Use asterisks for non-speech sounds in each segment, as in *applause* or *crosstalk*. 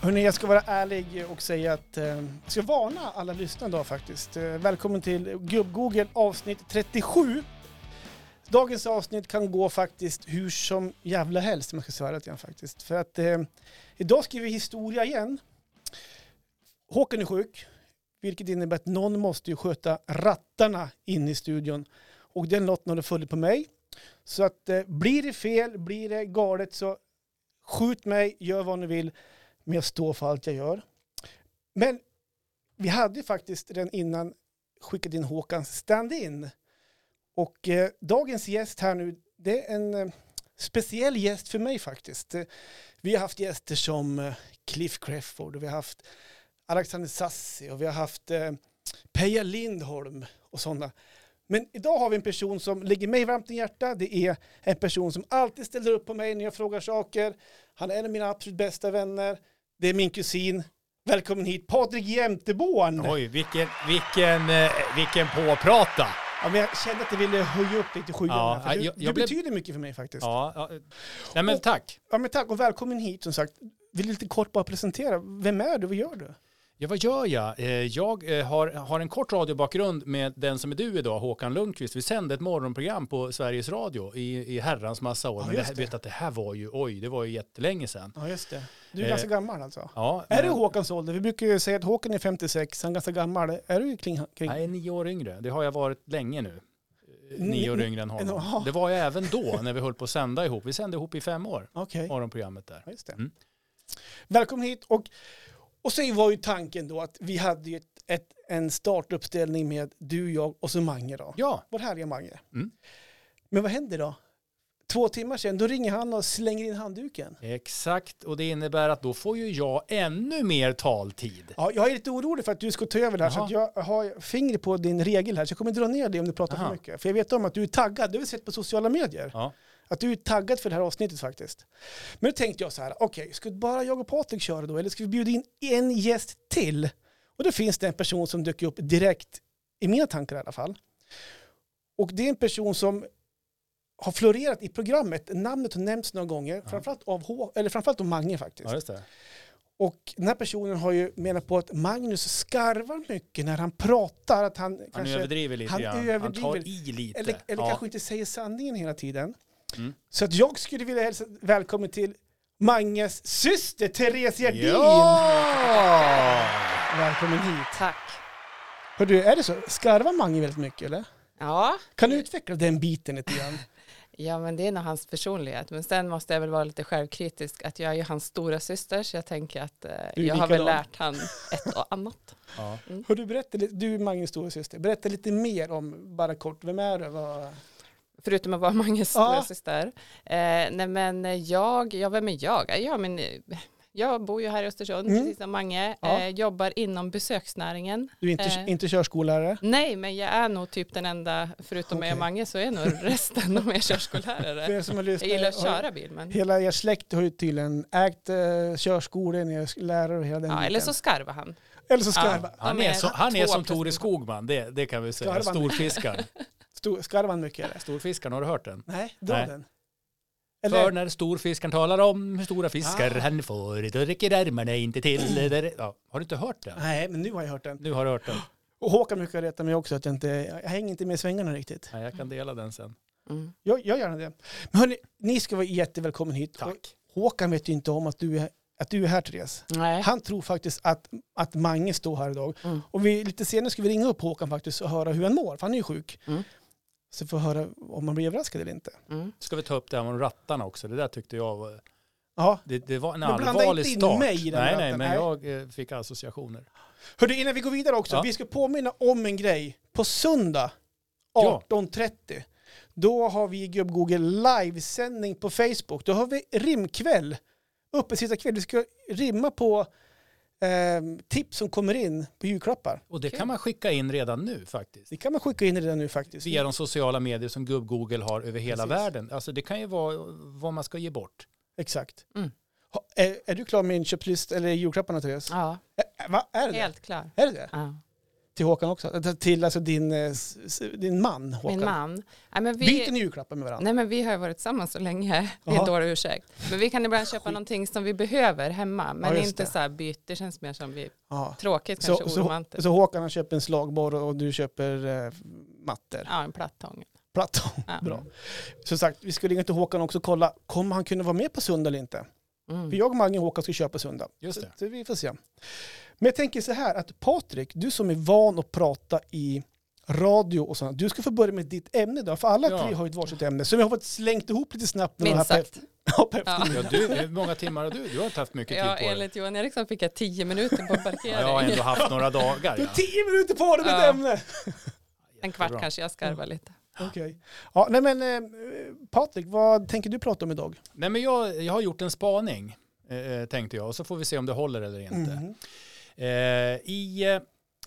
Hörrni, jag ska vara ärlig och säga att eh, jag ska varna alla lyssnare idag faktiskt. Eh, välkommen till Gubb-Google avsnitt 37. Dagens avsnitt kan gå faktiskt hur som jävla helst om jag ska svära lite grann faktiskt. För att eh, idag skriver vi historia igen. Håkan är sjuk, vilket innebär att någon måste ju sköta rattarna in i studion. Och den lotten har det fallit på mig. Så att eh, blir det fel, blir det galet så skjut mig, gör vad ni vill. Men jag står för allt jag gör. Men vi hade ju faktiskt redan innan skickat in Håkans stand-in. Och eh, dagens gäst här nu, det är en eh, speciell gäst för mig faktiskt. Eh, Vi har haft gäster som eh, Cliff Crawford och vi har haft Alexander Sassi och vi har haft eh, Peja Lindholm och sådana. Men idag har vi en person som ligger mig varmt i hjärtat. Det är en person som alltid ställer upp på mig när jag frågar saker. Han är en av mina absolut bästa vänner. Det är min kusin. Välkommen hit, Patrik Jämteborn. Oj, vilken, vilken, eh, vilken påprata. Ja, men jag kände att jag ville höja upp lite skyarna. Ja, för du jag- du jag blev- betyder mycket för mig faktiskt. Ja. Ja, ja. Nej men tack. men tack och välkommen hit som sagt. Vill du lite kort bara presentera, vem är du, vad gör du? Ja, vad gör jag? Eh, Jag eh, har, har en kort radiobakgrund med den som är du idag, Håkan Lundqvist. Vi sände ett morgonprogram på Sveriges Radio i, i herrans massa år. Ja, Men det, just här- det. vet att det här var ju, oj, det var ju jättelänge sedan. Ja just det. Du är Eh, ganska gammal alltså. Ja, Är du men- Håkans ålder? Vi brukar ju säga att Håkan är 56, han är ganska gammal. Är du kring... kring? Nej, nio år yngre. Det har jag varit länge nu. Eh, Ni- Nio år ni- yngre än honom. Jaha. Det var jag även då när vi höll på att sända ihop. Vi sände ihop i fem år, Okej. morgonprogrammet där. Ja, just det. Mm. Välkommen hit. Och, och så var ju tanken då att vi hade ju ett, ett, en startuppställning med du, jag och så Mange då. Ja, Vår härliga Mange. Mm. Men vad händer då? Två timmar sen, då ringer han och slänger in handduken. Exakt, och det innebär att då får ju jag ännu mer taltid. Ja, jag är lite orolig för att du ska ta över där, så Jaha. att jag har fingret på din regel här, så jag kommer dra ner dig om du pratar för Aha. mycket. För jag vet om att du är taggad, det har vi sett på sociala medier. Ja. Att du är taggad för det här avsnittet faktiskt. Men då tänkte jag så här, okej, ska bara jag och Patrik köra då, eller ska vi bjuda in en gäst till? Och då finns det en person som dyker upp direkt, i mina tankar i alla fall. Och det är en person som har florerat i programmet, namnet har nämnts några gånger, Ja. framförallt av, H- eller framförallt av Mange faktiskt. Ja, just det. Och den här personen har ju menat på att Magnus skarvar mycket när han pratar, att han, Han kanske... överdriver lite han grann. Han överdriver. tar i lite. Eller, eller ja. kanske inte säger sanningen hela tiden. Mm. Så att jag skulle vilja hälsa välkommen till Manges syster Therese Gerdin. Ja! Välkommen hit. Tack. Hör du, är det så? Skarvar Mange väldigt mycket eller? Ja. Kan du Mm. utveckla den biten lite grann? ja, men det är nog hans personlighet. Men sen måste jag väl vara lite självkritisk att jag är ju hans stora syster så jag tänker att eh, Du är jag har väl likadan. lärt han ett och annat. Ja. Mm. Hör du, berätta, lite- du är Manges stora syster. Berätta lite mer om, bara kort, vem är du? Vad... Förutom att vara Manges Ja. stora syster. Eh, nej men jag, ja vem är jag? Ja, men, eh, jag bor ju här i Östersund, Mm. precis som Mange. Ja. Eh, jobbar inom besöksnäringen. Du är inte, Eh. inte körskollärare? Nej, men jag är nog typ den enda, förutom mig och Okej. Mange, *laughs* så är nog resten av er För körskollärare. er som har Jag lyssnat- gillar att har- köra bil, men Hela er släkt har ju tydligen ägt eh, körskolor, ni är lärare och hela den ja, eller biten. så skarvar han. eller så skarvar Han De är, är så, han är två som plus Tore en. Skogman, det, det kan vi säga. Skarvan. *laughs* Storfiskaren. stor- skarvar han mycket? Eller? Storfiskaren, har du hört den? Nej, dra Nej. den. För när storfiskaren talar om hur stora fiskar Ah. han får, då räcker armarna inte till. Där- Ja. Har du inte hört den? Nej, men nu har jag hört den. Nu har du hört den. Och Håkan brukar reta mig också att jag inte, jag hänger inte med i svängarna riktigt. Nej, jag kan dela den sen. Mm. Jag, jag gör gärna det. Men hörni, ni ska vara jättevälkommen hit. Och Håkan vet ju inte om att du är, att du är här Therese. Nej. Han tror faktiskt att, att Mange står här idag. Mm. Och vi, lite senare ska vi ringa upp Håkan faktiskt och höra hur han mår, för han är ju sjuk. Mm. Så får vi höra om man blir överraskad eller inte. Mm. Ska vi ta upp det här med rattarna också? Det där tyckte jag var... Ja, Det, det var en Men blanda allvarlig inte in start. mig i den nej, ratten, nej, men nej. jag eh, fick associationer. Hörru, innan vi går vidare också, Ja. vi ska påminna om en grej. På söndag Ja. 18.30, då har vi Gubb Google livesändning på Facebook. Då har vi rimkväll, uppesittarkväll. Vi ska rimma på ehm, tips som kommer in på julklappar. Och det Kul. kan man skicka in redan nu faktiskt. Det kan man skicka in redan nu faktiskt. Via de sociala medier som Gubb-Google har över hela Precis. världen. Alltså det kan ju vara vad man ska ge bort. Exakt. Mm. Ha, är, är du klar med inköpslist eller julklapparna Therese? Ja, Ä- Va, är det det? helt klar. Är det det? Ja. Till Håkan också? Eller Till alltså din, eh, s- s- din man Håkan? Min man. Nej, men Byter vi, ni julklappar med varandra? nej, men vi har ju varit tillsammans så länge. Det är Jaha. en dålig ursäkt. Men vi kan ibland köpa någonting som vi behöver hemma. Men just inte det. så här byte. Det känns mer som vi, Ja. tråkigt Så, kanske, så, oromantiskt. så Håkan han köper en slagborr och du köper eh, mattor? Ja, en plattång. *laughs* Platon, Ja. bra. Som sagt, vi skulle ringa till Håkan också och kolla, kommer han kunna vara med på söndag eller inte? Mm. För jag och Mange och Håkan ska köpa söndag. Så, Just det. så vi får se. Men jag tänker så här att Patrik, du som är van att prata i radio och sånt, du ska få börja med ditt ämne då, för alla Ja. tre har ju ett varsitt ämne. Så vi har fått slängt ihop lite snabbt. med de här Minst sagt. *laughs* på- på efter- Ja. Ja, du, hur många timmar har du? Du har inte haft mycket Ja, tid på dig. enligt Johan Eriksson fick jag tio *laughs* minuter på Ja, jag har parkering. ändå haft några dagar. Du har Ja. tio minuter på dig med ett Ja. ämne! Bra. En kvart kanske jag skarvar Mm. lite. Okej. Ja, nej men eh, Patrik, vad tänker du prata om idag? Nej, men jag, jag har gjort en spaning, eh, tänkte jag, och så får vi se om det håller eller inte. Mhm. Eh, I, eh,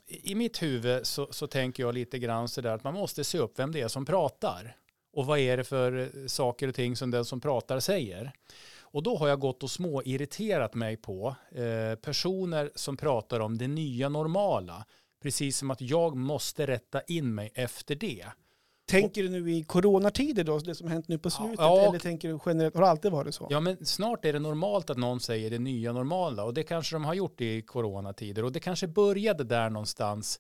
I mitt huvud så, så tänker jag lite grann sådär att man måste se upp vem det är som pratar. Och vad är det för eh, saker och ting som den som pratar säger. Och då har jag gått och småirriterat mig på eh, personer som pratar om det nya normala. Precis som att jag måste rätta in mig efter det. Tänker du nu i coronatider då, det som hänt nu på slutet? ja. Eller tänker du generellt, har det alltid varit så? Ja, men snart är det normalt att någon säger det nya normala och det kanske de har gjort i coronatider och det kanske började där någonstans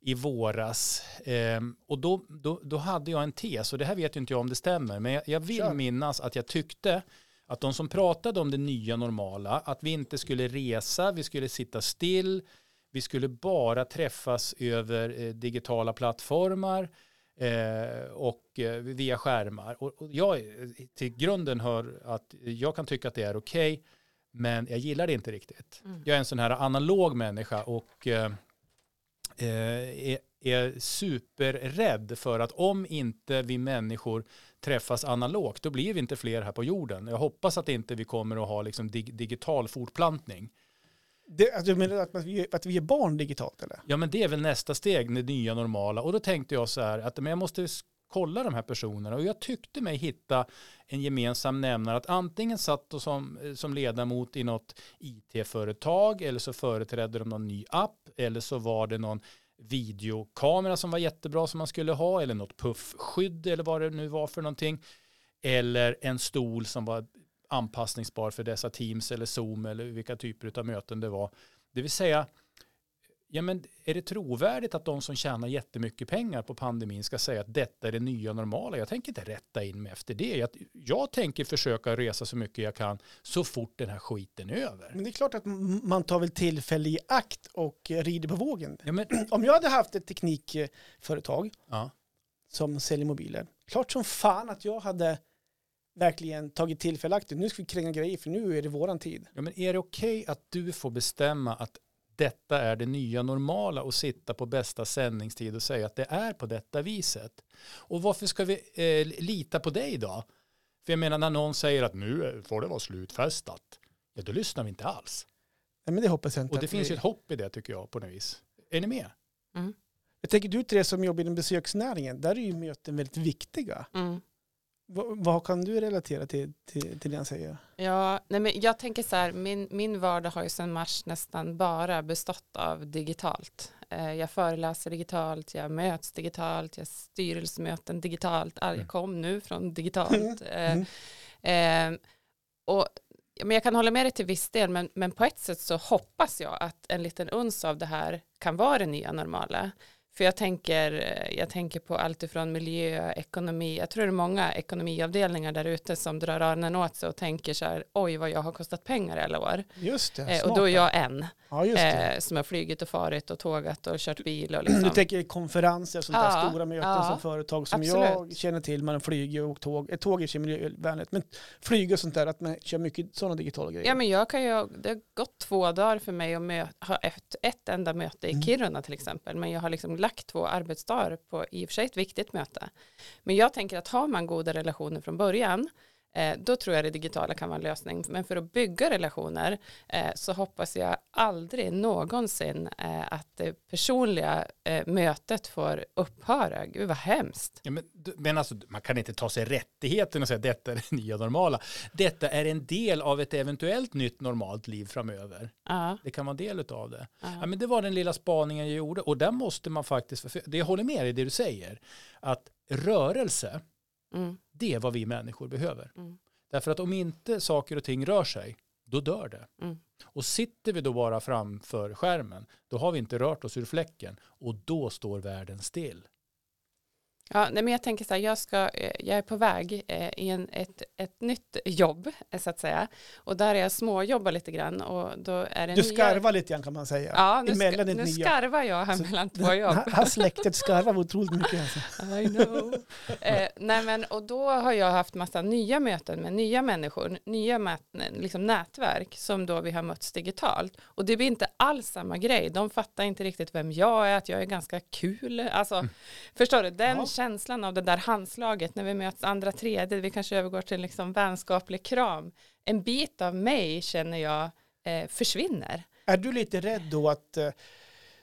i våras. Ehm, och då, då, då hade jag en tes och det här vet ju inte jag om det stämmer men jag, jag vill Kör. minnas att jag tyckte att de som pratade om det nya normala, att vi inte skulle resa, vi skulle sitta still, vi skulle bara träffas över eh, digitala plattformar eh, och eh, via skärmar. Och, och jag eh, till grunden hör att jag kan tycka att det är okej, men jag gillar det inte riktigt. Mm. Jag är en sån här analog människa och eh, eh, är, är superrädd för att om inte vi människor träffas analogt, då blir vi inte fler här på jorden. Jag hoppas att inte vi kommer att ha liksom dig, digital fortplantning. Det, att du menar att vi, att vi är barn digitalt eller? Ja, men det är väl nästa steg, det nya normala. Och då tänkte jag så här att men jag måste s- kolla de här personerna och jag tyckte mig hitta en gemensam nämnare att antingen satt de som, eh, som ledamot i något it-företag eller så företrädde de någon ny app eller så var det någon videokamera som var jättebra som man skulle ha eller något puffskydd eller vad det nu var för någonting eller en stol som var anpassningsbar för dessa Teams eller Zoom eller vilka typer av möten det var. Det vill säga ja men är det trovärdigt att de som tjänar jättemycket pengar på pandemin ska säga att detta är det nya normala? Jag tänker inte rätta in mig efter det. Jag, jag tänker försöka resa så mycket jag kan så fort den här skiten är över. Men det är klart att m- man tar väl tillfälle i akt och eh, rider på vågen. Ja, men, Om jag hade haft ett teknikföretag ja. som säljer mobiler, klart som fan att jag hade verkligen tagit tillfälle i akt. Nu ska vi kränga grejer för nu är det våran tid. Ja, men är det okej att du får bestämma att detta är det nya normala och sitta på bästa sändningstid och säga att det är på detta viset? Och varför ska vi eh, lita på dig då? För jag menar när någon säger att nu får det vara slutfestat, ja då lyssnar vi inte alls. Nej, men det hoppas jag inte. Och det att finns vi... ju ett hopp i det tycker jag på något vis. Är ni med? Jag tänker du tre som jobbar inom besöksnäringen, där är ju möten väldigt viktiga. Mm. Va- vad kan du relatera till, till, till det han säger? Ja, nej men jag tänker så här, min, min vardag har ju sedan mars nästan bara bestått av digitalt. Eh, Jag föreläser digitalt, jag möts digitalt, jag har styrelsemöten digitalt, all- Mm. jag kom nu från digitalt. Eh, Mm. eh, Och, ja, men jag kan hålla med dig till viss del, men, men på ett sätt så hoppas jag att en liten uns av det här kan vara det nya normala. För jag tänker, eh, jag tänker på allt ifrån miljö, ekonomi. Jag tror det är många ekonomiavdelningar där ute som drar öronen åt sig och tänker så här, oj vad jag har kostat pengar i alla år. Just det, Eh, och smart då är där. jag en Ja, just det. eh, som har flugit och farit och tågat och kört bil *clears throat* och Du liksom. tänker konferenser, sånt där Ja, stora möten ja, som företag som absolut. jag känner till. Man flyger och tåg. eh, Tåg är ju miljövänligt, men flyg och sånt där, att man kör mycket sådana digitala grejer. Ja men jag kan ju, det har gått två dagar för mig att mö- ha ett, ett enda möte i Mm. Kiruna till exempel. Men jag har liksom lagt två arbetsdagar på i och för sig ett viktigt möte. Men jag tänker att har man goda relationer från början eh, då tror jag det digitala kan vara en lösning. Men för att bygga relationer eh, så hoppas jag aldrig någonsin eh, att det personliga eh, mötet får upphöra. Gud vad hemskt. Ja, men, du- men alltså, man kan inte ta sig rättigheten och säga detta är det nya normala. Detta är en del av ett eventuellt nytt normalt liv framöver. Ja, Det kan vara en del av det. Ja, ja, men det var den lilla spaningen jag gjorde och där måste man faktiskt, för det jag håller med dig i det du säger, att rörelse, mm, det är vad vi människor behöver. Mm. Därför att om inte saker och ting rör sig, då dör det. Mm. Och sitter vi då bara framför skärmen, då har vi inte rört oss ur fläcken och då står världen still. ja nej, men jag tänker så här, jag, ska, eh, jag är på väg eh, i en, ett, ett nytt jobb, eh, så att säga. Och där är jag småjobbar lite grann och då är det Du nya- skarvar lite grann kan man säga. Ja, nu, ska, emellan ett nu nya. skarvar jag här Så- mellan två jobb. Det här släktet skarvar otroligt mycket. *laughs* Alltså. I know. *laughs* eh, nej men, och då har jag haft massa nya möten med nya människor, nya mät- liksom nätverk som då vi har mötts digitalt. Och det blir inte alls samma grej. De fattar inte riktigt vem jag är, att jag är ganska kul. Alltså, Mm. Förstår du, den Ja. känslan av det där handslaget när vi möts andra tredje, vi kanske övergår till liksom vänskaplig kram. En bit av mig känner jag eh, försvinner. Är du lite rädd då att eh,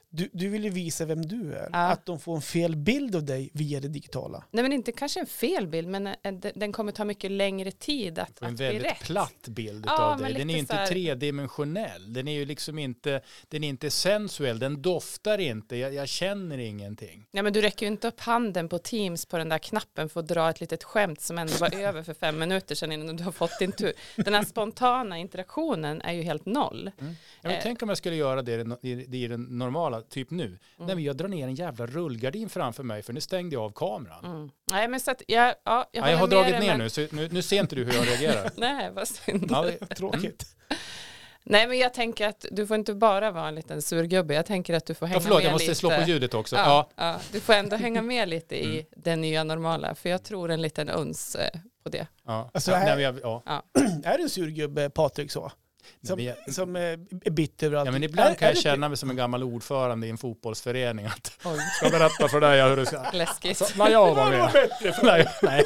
du, du vill ju visa vem du är? Ja. Att de får en fel bild av dig via det digitala? Nej men inte kanske en fel bild, men eh, den- den kommer ta mycket längre tid att, Och en att bli väldigt rätt. platt bild Ja, av men dig. Den är lite ju inte så här- tredimensionell. Den är ju liksom inte, den är inte sensuell. Den doftar inte. Jag, jag känner ingenting. Nej men du räcker ju inte upp handen på Teams på den där knappen för att dra ett litet skämt som ändå *laughs* var över för fem minuter sedan innan du har fått din tur. Den här spontana interaktionen är ju helt noll. Ja, men Eh. Mm. Tänk om jag skulle göra det i den- i det, i den normala, typ nu. Nej, men jag drar ner en jävla rullgardin framför mig för nu stängde jag av kameran. Mm. Nej men så att jag, ja, jag, Jag, ja, jag har håller med dragit dig, ner men- nu, så nu, nu ser inte du hur jag *laughs* reagerar. Nej vad synd. ja, det- Tråkigt. *clears throat* Nej men jag tänker att du får inte bara vara en liten surgubbe. Jag tänker att du får hänga ja, förlåt, med jag måste lite. slå på ljudet också. Ja. Mm. Ja, ja. du får *laughs* ändå hänga med lite i det nya normala. För jag tror en liten uns eh, på det. Ja. Alltså, ja, här- nej, men jag, ja. Är du en sur gubbe, Patrik, så? Nej, Som, men jag, som eh, är bitter över allt? ja, men Är- typ- ibland kan är jag du- känna mig som en gammal ordförande i en fotbollsförening. Att, Oj. *laughs* ska jag berätta för dig hur du ska... *laughs* Läskigt. Så, när jag var med. *laughs* nej, nej.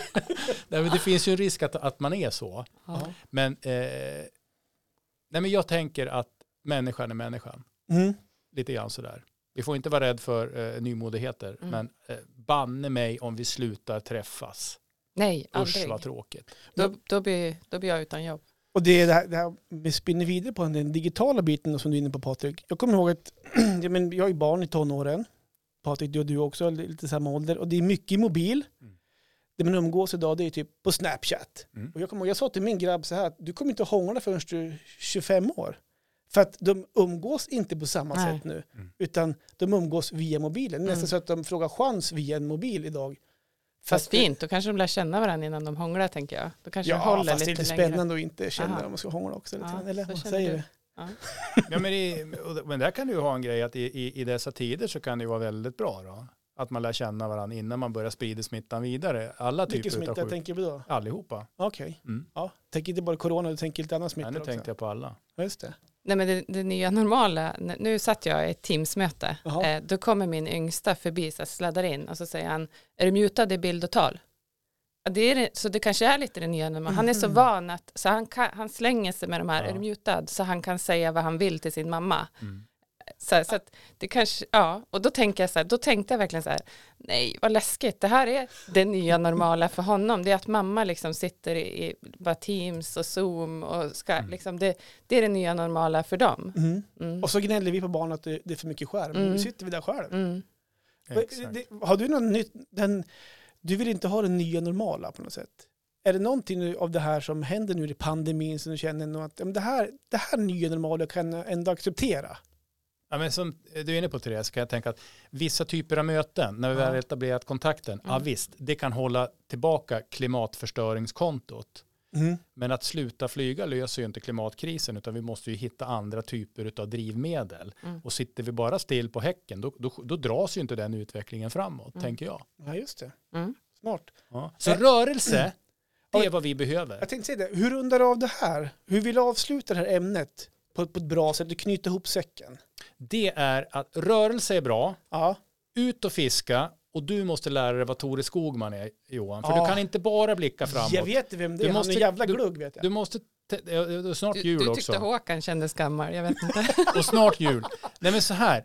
nej, men det finns ju en risk att, att man är så. Ja. Men, eh, nej, men jag tänker att människan är människan. Mm. lite grann sådär. Vi får inte vara rädd för eh, nymodigheter, Mm. men eh, banne mig om vi slutar träffas. Nej, Usch aldrig. vad tråkigt. Då, då, blir, då blir jag utan jobb. Och det, är det, här, det här vi spinner vidare på den digitala biten som du är inne på Patrik. Jag kommer ihåg att *clears throat* ja, men jag är barn i tonåren. Patrik, du och du också, lite samma ålder. Och det är mycket i mobil. Mm. Det man umgås idag det är typ på Snapchat. Mm. Och jag, kommer ihåg, jag sa till min grabb så här, att du kommer inte hångla förrän du är 25 år. För att de umgås inte på samma Nej. sätt nu. Mm. Utan de umgås via mobilen. Nästan Mm. så att de frågar chans via en mobil idag. Fast Att- fint, då kanske de lär känna varandra innan de hånglar tänker jag. Då kanske de Ja, håller fast det lite, är lite längre. spännande att inte känna Aha. om man ska hångla också. Lite Ja, grann. Eller så vad känner säger du. du? Ja, men, i, och- men där kan du ju ha en grej att i, i, i dessa tider så kan det ju vara väldigt bra då. Att man lär känna varandra innan man börjar sprida smittan vidare. Alla Vilken typer av smitta sjukdomar. tänker vi då? Ah, Allihopa. Okej. Mm. Ja, tänk inte bara corona, du tänker lite annan smitta Nej, nu också. tänkte jag på alla. Ja, just det. Nej men det, det nya normala, n- nu satt jag i ett Teams-möte, Jaha. eh, då kommer min yngsta förbi, så här, sladdar in och så säger han, är du mutad i bild och tal? Ja, Det är, det- så det kanske är lite det nya normala, han är så Mhm. van att, så han, kan, han slänger sig med de här, Ja. är du mutad? Så han kan säga vad han vill till sin mamma. Mm. Så, här, så att det kanske, ja, och då tänker jag så här, då tänkte jag verkligen så här, nej vad läskigt, det här är det nya normala för honom, det är att mamma liksom sitter i, i bara Teams och Zoom och ska, Mm. liksom, det, det är det nya normala för dem. Mm. Mm. Och så gnäller vi på barn att det, det är för mycket skärm. Mm. Nu sitter vi där själv. Mm. Men Exakt. Det, har du något nytt? Den, du vill inte ha det nya normala på något sätt? Är det någonting nu av det här som händer nu i pandemin som du känner nog att ja, men det, här, det här nya normala kan jag ändå acceptera? Ja, men som du är inne på Therese, kan jag tänka att vissa typer av möten, när vi väl Ja. etablerat kontakten, ja Mm. visst, det kan hålla tillbaka klimatförstöringskontot. Men att sluta flyga löser ju inte klimatkrisen utan vi måste ju hitta andra typer av drivmedel. Mm. Och sitter vi bara still på häcken då, då, då dras ju inte den utvecklingen framåt, Mm. tänker jag. Ja, just det. Mm. Smart. Ja. Så Mm. rörelse, det är vad vi behöver. Jag tänkte säga det, hur rundar du av det här? Hur vill du avsluta det här ämnet på, på ett bra sätt? Du knyter ihop säcken. Det är att rörelse är bra, Ja, ut och fiska Och du måste lära dig vad Tore Skogman är, Johan. För Ja. du kan inte bara blicka framåt. Jag vet inte vem det Du är, han är måste- en jävla du- glugg vet jag. Du måste, te- eh, eh, snart Du, jul du också. tyckte Håkan kändes gammal, jag vet inte. och snart jul. Nej men så här,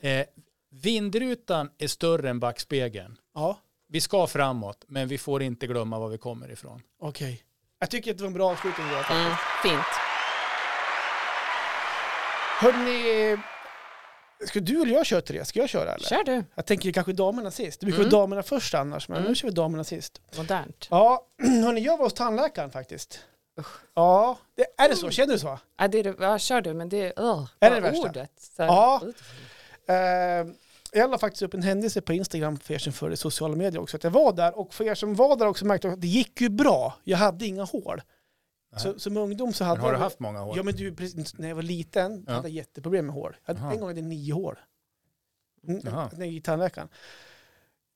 eh, vindrutan är större än backspegeln. Ja, Vi ska framåt, men vi får inte glömma var vi kommer ifrån. okej. Jag tycker att det var en bra avslutning. Johan. Mm, fint. Hörrni, ska du eller jag köra Therese? Ska jag köra eller? Kör du, Jag tänker kanske damerna sist. Det brukar vara Mm. damerna först annars, men nu kör vi damerna sist. modernt. Ja, *clears throat* hörni, jag var hos tandläkaren faktiskt. Ja, det, är det Mm. så? Känner du så? Ja, det är, det- ja, kör du, men det är, uh, Är det det värsta? ordet. Så här, Ja. uh. Eh, jag la faktiskt upp en händelse på Instagram för er som följer sociala medier också, att jag var där och för er som var där också märkte jag att det gick ju bra. Jag hade inga hål. Nej. Så, som ungdom så hade Men har du jag... haft många år? Ja men du, precis, när jag var liten Ja. hade jag jätteproblem med hår. Jag hade, Jaha. en gång hade jag nio hår. Mm, Jaha. När jag gick till tandläkaren.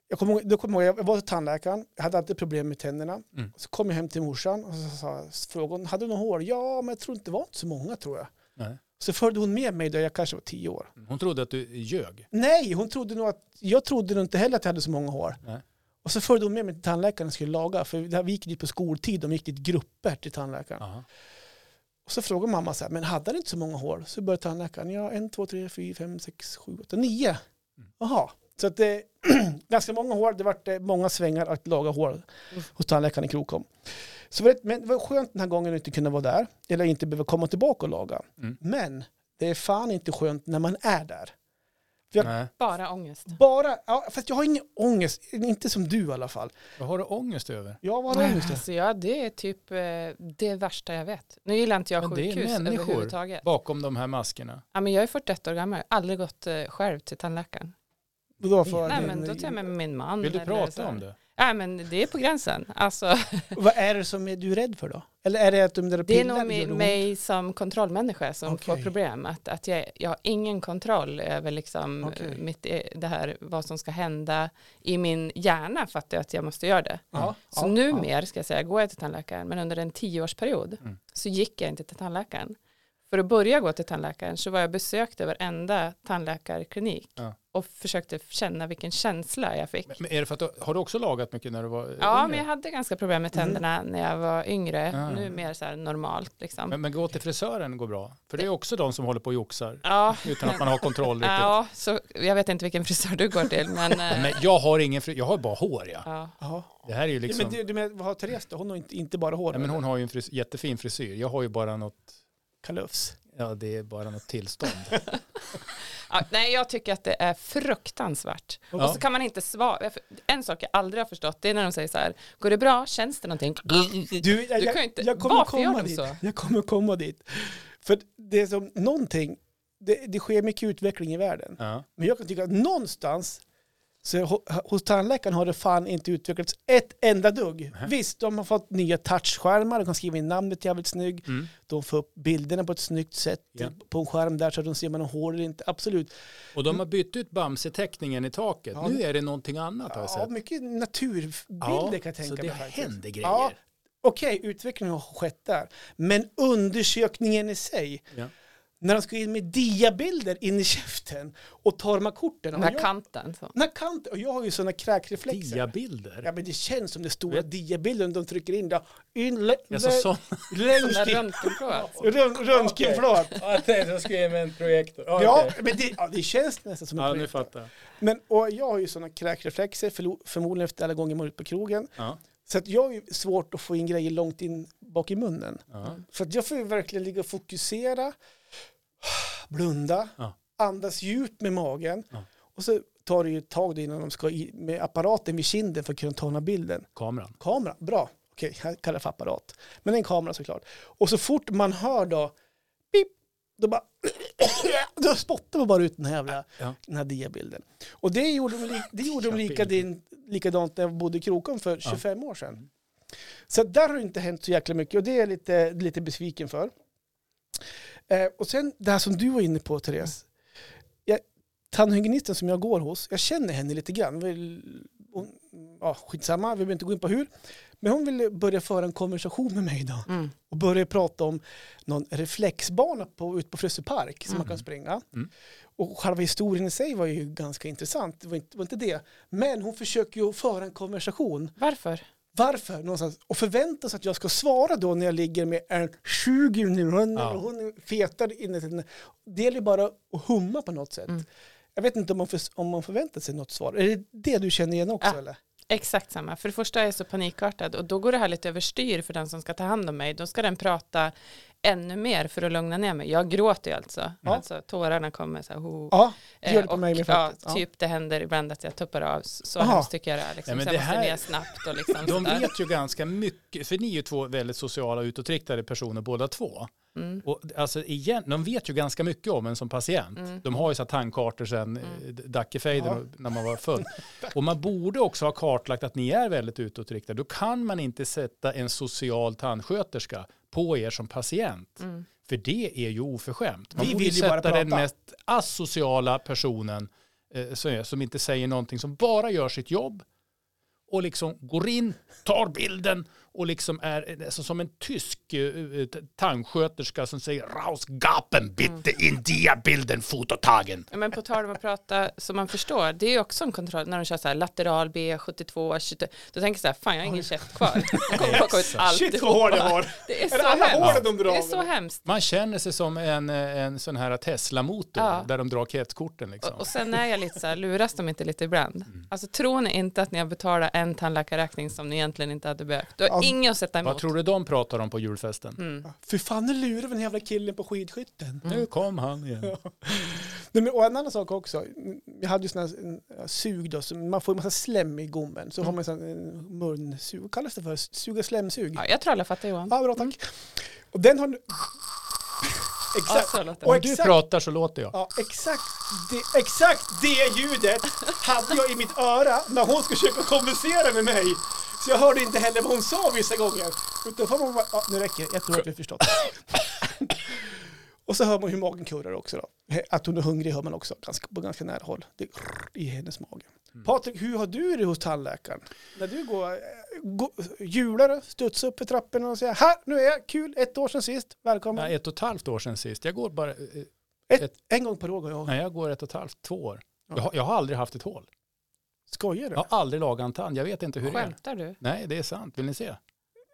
Jag kommer ihåg, då kommer jag, ihåg, jag var till tandläkaren, jag hade alltid problem med tänderna. Mm. Så kom jag hem till morsan och så, sa frågade hon, hade du några hår? Ja, men jag tror inte det var inte så många tror jag. Nej. Så följde hon med mig då jag kanske var tio år. Hon trodde att du ljög. Nej, hon trodde nog att, jag trodde nog inte heller att jag hade så många hår. Nej. Och så följde hon med mig till tandläkaren och skulle laga, för där vi gick dit på skoltid, de gick dit grupper till tandläkaren. Aha. Och så frågade mamma så här, men hade han inte så många hår? Så började tandläkaren, ja en, två, tre, fyra, fem, sex, sju, åtta, nio. Mm. Jaha, så att det *clears throat* ganska många hår, det vart eh, många svängar att laga hår Mm. hos tandläkaren i Krokom. Så det var, rätt- men det var skönt den här gången att inte kunna vara där, eller inte behöva komma tillbaka och laga. Mm. Men det är fan inte skönt när man är där. Jag- Nej. Bara ångest. Bara, ja, fast jag har ingen ångest, inte som du i alla fall. Vad har du ångest över? Jag var ångest. Alltså, ja, det är typ eh, det värsta jag vet. Nu gillar inte jag Men det är sjukhus människor. överhuvudtaget. Bakom de här maskerna. Ja, men jag är 41 år gammal, jag har aldrig gått eh, själv till tandläkaren. Då för Nej, men då tar jag med min man. Vill du eller så prata här. om det? Nej, men det är på gränsen. Alltså, Vad är det som är du rädd för då? Eller är det att de där det är pillerna nog mi- gjorde ont? mig som kontrollmänniska som får Okej. problem. Att, att jag, jag har ingen kontroll över liksom, Okej. eh, mitt, eh, det här, vad som ska hända. I min hjärna fattar jag att jag måste göra det. Ja, Så ja, ja. numer ska jag säga, går jag till tandläkaren, men under en tioårsperiod Mm. så gick jag inte till tandläkaren. För att börja gå till tandläkaren så var jag besökt över varenda tandläkarklinik Ja. och försökte känna vilken känsla jag fick. Men är det för att du, har du också lagat mycket när du var Ja, yngre? Mm. men jag hade ganska problem med tänderna när jag var yngre. Ja. Nu mer så här normalt liksom. men, men gå till frisören går bra. För det är också de som håller på och joxar. ja, Utan att man har kontroll riktigt. ja så, jag vet inte vilken frisör du går *laughs* till, men eh, Men jag har ingen fri, jag har bara hår ja. ja. Ja. Det här är ju Ja, liksom, Men du, du menar, vad har Therese då? Hon har inte, inte bara hår? nej, men hon har ju en fris, jättefin frisyr. Jag har ju bara något, Kalufs? ja det är bara något *laughs* tillstånd. Ja, nej, jag tycker att det är fruktansvärt. Ja. Och så kan man inte svara. En sak jag aldrig har förstått, det är när de säger så här, går det bra, känns det någonting? Du, jag, Du kan ju inte- jag kommer varför komma gör de dit. så? Jag kommer komma dit. För det är som någonting, det, det sker mycket utveckling i världen. Ja. Men jag kan tycka att någonstans så ho- hos tandläkaren har det fan inte utvecklats ett enda dugg. Visst, de har fått nya touchskärmar, de kan skriva in namnet jävligt snygg, Mm. de får upp bilderna på ett snyggt sätt Ja. på en skärm där så att de ser om man har hår eller inte. Absolut. Och de har bytt ut Bamse-teckningen i taket. Ja, nu är det någonting annat har jag Ja, sett. mycket naturbilder kan jag tänka så mig det faktiskt. händer grejer. Ja, Okej, utvecklingen har skett där. Men undersökningen i sig, Ja. när de ska in med diabilder in i käften och tar de här korten. Den Och här jag, kanten. Så. den här kanten, och jag har ju sådana kräkreflexer. Diabilder. Ja men det känns som det stora Vet- diabilden de trycker in där. In, lä, Jag sa sån. Den där längst in. röntgenprovet. Rön- Röntgenflak. Jag tänkte jag skulle ge mig en projektor. Ja, men det, ja, det känns nästan som en ja, nu projekt. fattar jag. Men och jag har ju sådana kräkreflexer, förlo- förmodligen efter alla gånger man är ute på krogen. Ja. Så att jag har ju svårt att få in grejer långt in bak i munnen. Ja. Så att jag får ju verkligen ligga och fokusera, blunda, Ja. andas djupt med magen. Ja. Och så tar det ju ett tag då innan de ska i, med apparaten vid kinden för att kunna ta den här bilden. Kameran. Kamera, bra. Okej, jag kallar det för apparat. Men en kamera såklart. Och så fort man hör då, pip, då bara, *coughs* då spottar man bara ut den här jävla, Ja. den här diabilden. Och det gjorde de, li, *laughs* det gjorde de Diabild. likadant, likadant när jag bodde i Krokom för 25 år sedan. Så där har det inte hänt så jäkla mycket och det är jag lite, lite besviken för. Eh, och sen det här som du var inne på Therese. Jag, tandhygienisten som jag går hos, jag känner henne lite grann. Väl- hon- Ja, skitsamma, vi behöver inte gå in på hur. Men hon ville börja föra en konversation med mig idag Mm. och började prata om någon reflexbana på, ute på Frösö Park som man kan springa. Mm. Och själva historien i sig var ju ganska intressant, det var inte, var inte det. Men hon försöker ju föra en konversation. Varför? Varför? Någonstans. Och förväntar sig att jag ska svara då när jag ligger med en 20 nu Ja. och hon är fetare inuti henne. Det gäller ju bara att humma på något sätt. Mm. Jag vet inte om man, för, om man förväntar sig något svar. Är det det du känner igen också Ja. eller? Exakt samma. För det första är jag så panikartad och då går det här lite överstyr för den som ska ta hand om mig. Då ska den prata ännu mer för att lugna ner mig. Jag gråter ju alltså. Ja. alltså tårarna kommer så här. Ho. Ja, det gör Eh, det på mig med ja, faktiskt. Ja. typ det händer ibland att jag tuppar av. Så Aha. hemskt tycker jag det är. Nej, Liksom. men så det jag måste här- ner snabbt och liksom De sådär. vet ju ganska mycket, för ni är ju två väldigt sociala utåtriktade personer båda två. Mm. Och alltså igen, de vet ju ganska mycket om en som patient. Mm. De har ju så här tandkartor sedan mm. Dackefejden Ja. och- när man var född. och man borde också ha kartlagt att ni är väldigt utåtriktade. Då kan man inte sätta en social tandsköterska på er som patient. Mm. För det är ju oförskämt. Man Vi borde vill ju bara sätta den prata. mest asociala personen eh, som, är, som inte säger någonting, som bara gör sitt jobb och liksom går in, tar bilden och liksom är eh, alltså, som en tysk eh, eh, t- tandsköterska som säger Rausgapen bitte in dia bilden fototagen. Ja, men på tal om att prata som man förstår, det är ju också en kontroll när de kör så här lateral B, 72, 22. Då tänker jag så här, fan jag har ingen käft *laughs* kvar. Jag kommer plocka ut Exakt. Shit vad hård jag alltihopa. har! Det är Är det så alla hemskt. håren de drar Det av är så eller? hemskt. Man känner sig som en, eh, en sån här Tesla-motor Ja. där de drar kretskorten liksom. Och, och sen är jag lite så här, luras de inte lite ibland? Mm. Alltså tror ni inte att ni har betalat en tandläkarräkning som ni egentligen inte hade behövt? Du har Ja, inget att sätta emot. Vad tror du de pratar om på julfesten? Mm. Fy fan, nu lurar vi den jävla killen på skidskytten. Nu kom han igen. Nej, men, och en annan sak också, jag hade ju sådana här en, ja, sug då, så man får en massa slem i gommen, så har man sån en munsug, vad kallas det för? Suga slemsug? Ja, jag tror alla fattar Johan. Ja, bra tack. Och den har... Ja, Exakt, så låter Alltså, Oj. det. Om du exakt. pratar så låter jag. ja, exakt, det, exakt det ljudet hade jag i mitt öra när hon skulle försöka konversera med mig. Så jag hörde inte heller vad hon sa vissa gånger. Utan får man bara, ja, nu räcker det, jag tror att vi har förstått. Och så hör man hur magen kurrar också då. Att hon är hungrig hör man också ganska, på ganska nära håll. Det rrr i hennes mage. Mm. Patrik, hur har du det hos tandläkaren? När du går, eh, går hjular, studsar upp i trapporna och säger här, nu är jag, kul, ett år sedan sist, välkommen. Ja, ett och ett halvt år sedan sist. Jag går bara, eh, ett, ett- en gång per år går jag. nej jag går ett och ett halvt, två år. Ja. Jag har, jag har aldrig haft ett hål. Skojar du? Jag har aldrig lagat en tand. Jag vet inte hur det är. Skämtar du? Nej, det är sant. Vill ni se?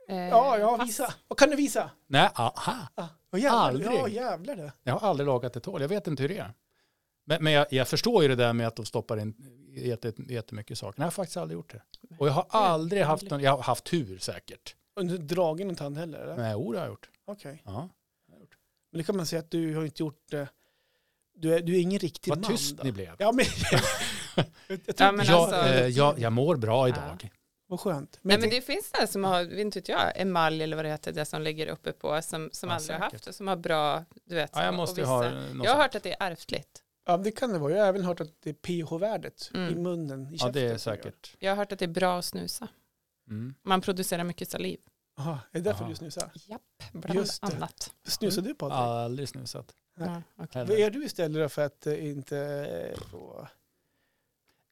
Eh, Ja, ja, pass. visa. Och kan du visa? Nej, aha. Ah, och jävlar, Aldrig. Ja, jävlar det. Jag har aldrig lagat ett hål. Jag vet inte hur det är. Men, men jag, jag förstår ju det där med att de stoppar in jätte- jättemycket saker. Nej, jag har faktiskt aldrig gjort det. Och jag har aldrig haft någon, jag har haft tur säkert. Och du har dragen någon tand heller? Eller? Nej, jo, det har jag gjort. Okej. Ja. Men det kan man säga att du har inte gjort det. Du är, du är ingen riktig Vad man. tyst då. ni blev. Ja, *laughs* men... jag, jag tror Ja, men jag, alltså- eh, jag, jag mår bra idag. Vad skönt. Nej men jag det finns det som har, vet inte jag, emalj eller vad det heter, det som ligger uppe på, som, som Ja, aldrig har säkert. haft och som har bra, du vet. Ja, jag och- och måste ju vissa- ha eh, något Jag har sånt. hört att det är ärftligt. Ja, det kan det vara. Jag har även hört att det är pH-värdet i Mm. munnen, i käften. Ja, det är som gör säkert. Jag har hört att det är bra att snusa. Mm. Man producerar mycket saliv. Aha, är det därför Aha. du snusar? Japp, bland Just det. annat. Mm. Snusar du på det? Aldrig snusat. Nej. Ja, okej. Vad är du istället då för att eh, inte eh, få...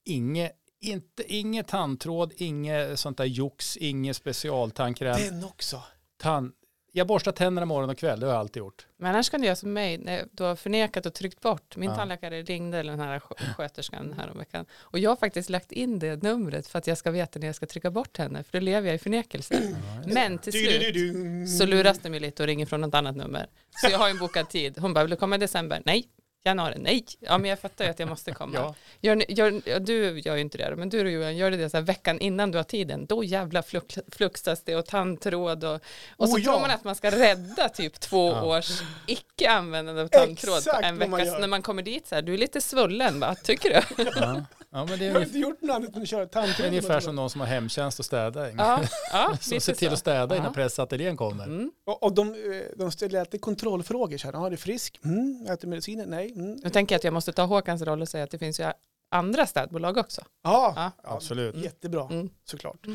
Inge, inte, inget tandtråd, inget sånt där jox, inget specialtandkräm. Den också! Tand, jag borstar tänderna morgon och kväll, det har jag alltid gjort. Men annars kan du göra som mig, när du har förnekat och tryckt bort. Min Ja. tandläkare ringde den här skö- sköterskan häromveckan. Och jag har faktiskt lagt in det numret för att jag ska veta när jag ska trycka bort henne. För då lever jag i förnekelse. Men till slut så luras de mig lite och ringer från något annat nummer. Så jag har ju en bokad tid. Hon bara, vill du komma i december? Nej. Januari? Nej. Ja men jag fattar ju att jag måste komma. Ja. Gör, ni- gör, ja, du gör ju inte det, men du då Johan, gör du det så här veckan innan du har tiden, då jävla flux, fluxas det och tandtråd och, och så Oh, ja. tror man att man ska rädda typ två Ja. års icke-användande av tandtråd på Exakt en vad man vecka. gör. Så när man kommer dit så här, du är lite svullen, va? tycker *laughs* du? Ja. Ja, men det är Jag har ungefär, inte gjort något annat än att köra tandkräm. ungefär som någon som har hemtjänst och städar. Ja, ja Så lite se till så. att städa innan Ja. pressateljén kommer. Mm. Och, och de, eh, de ställer alltid kontrollfrågor. Så här, ja, är du frisk? Mm. Äter du mediciner? Nej. Mm. Nu tänker jag att jag måste ta Håkans roll och säga att det finns ju andra städbolag också. Ja, Ja. Absolut. jättebra Mm. såklart.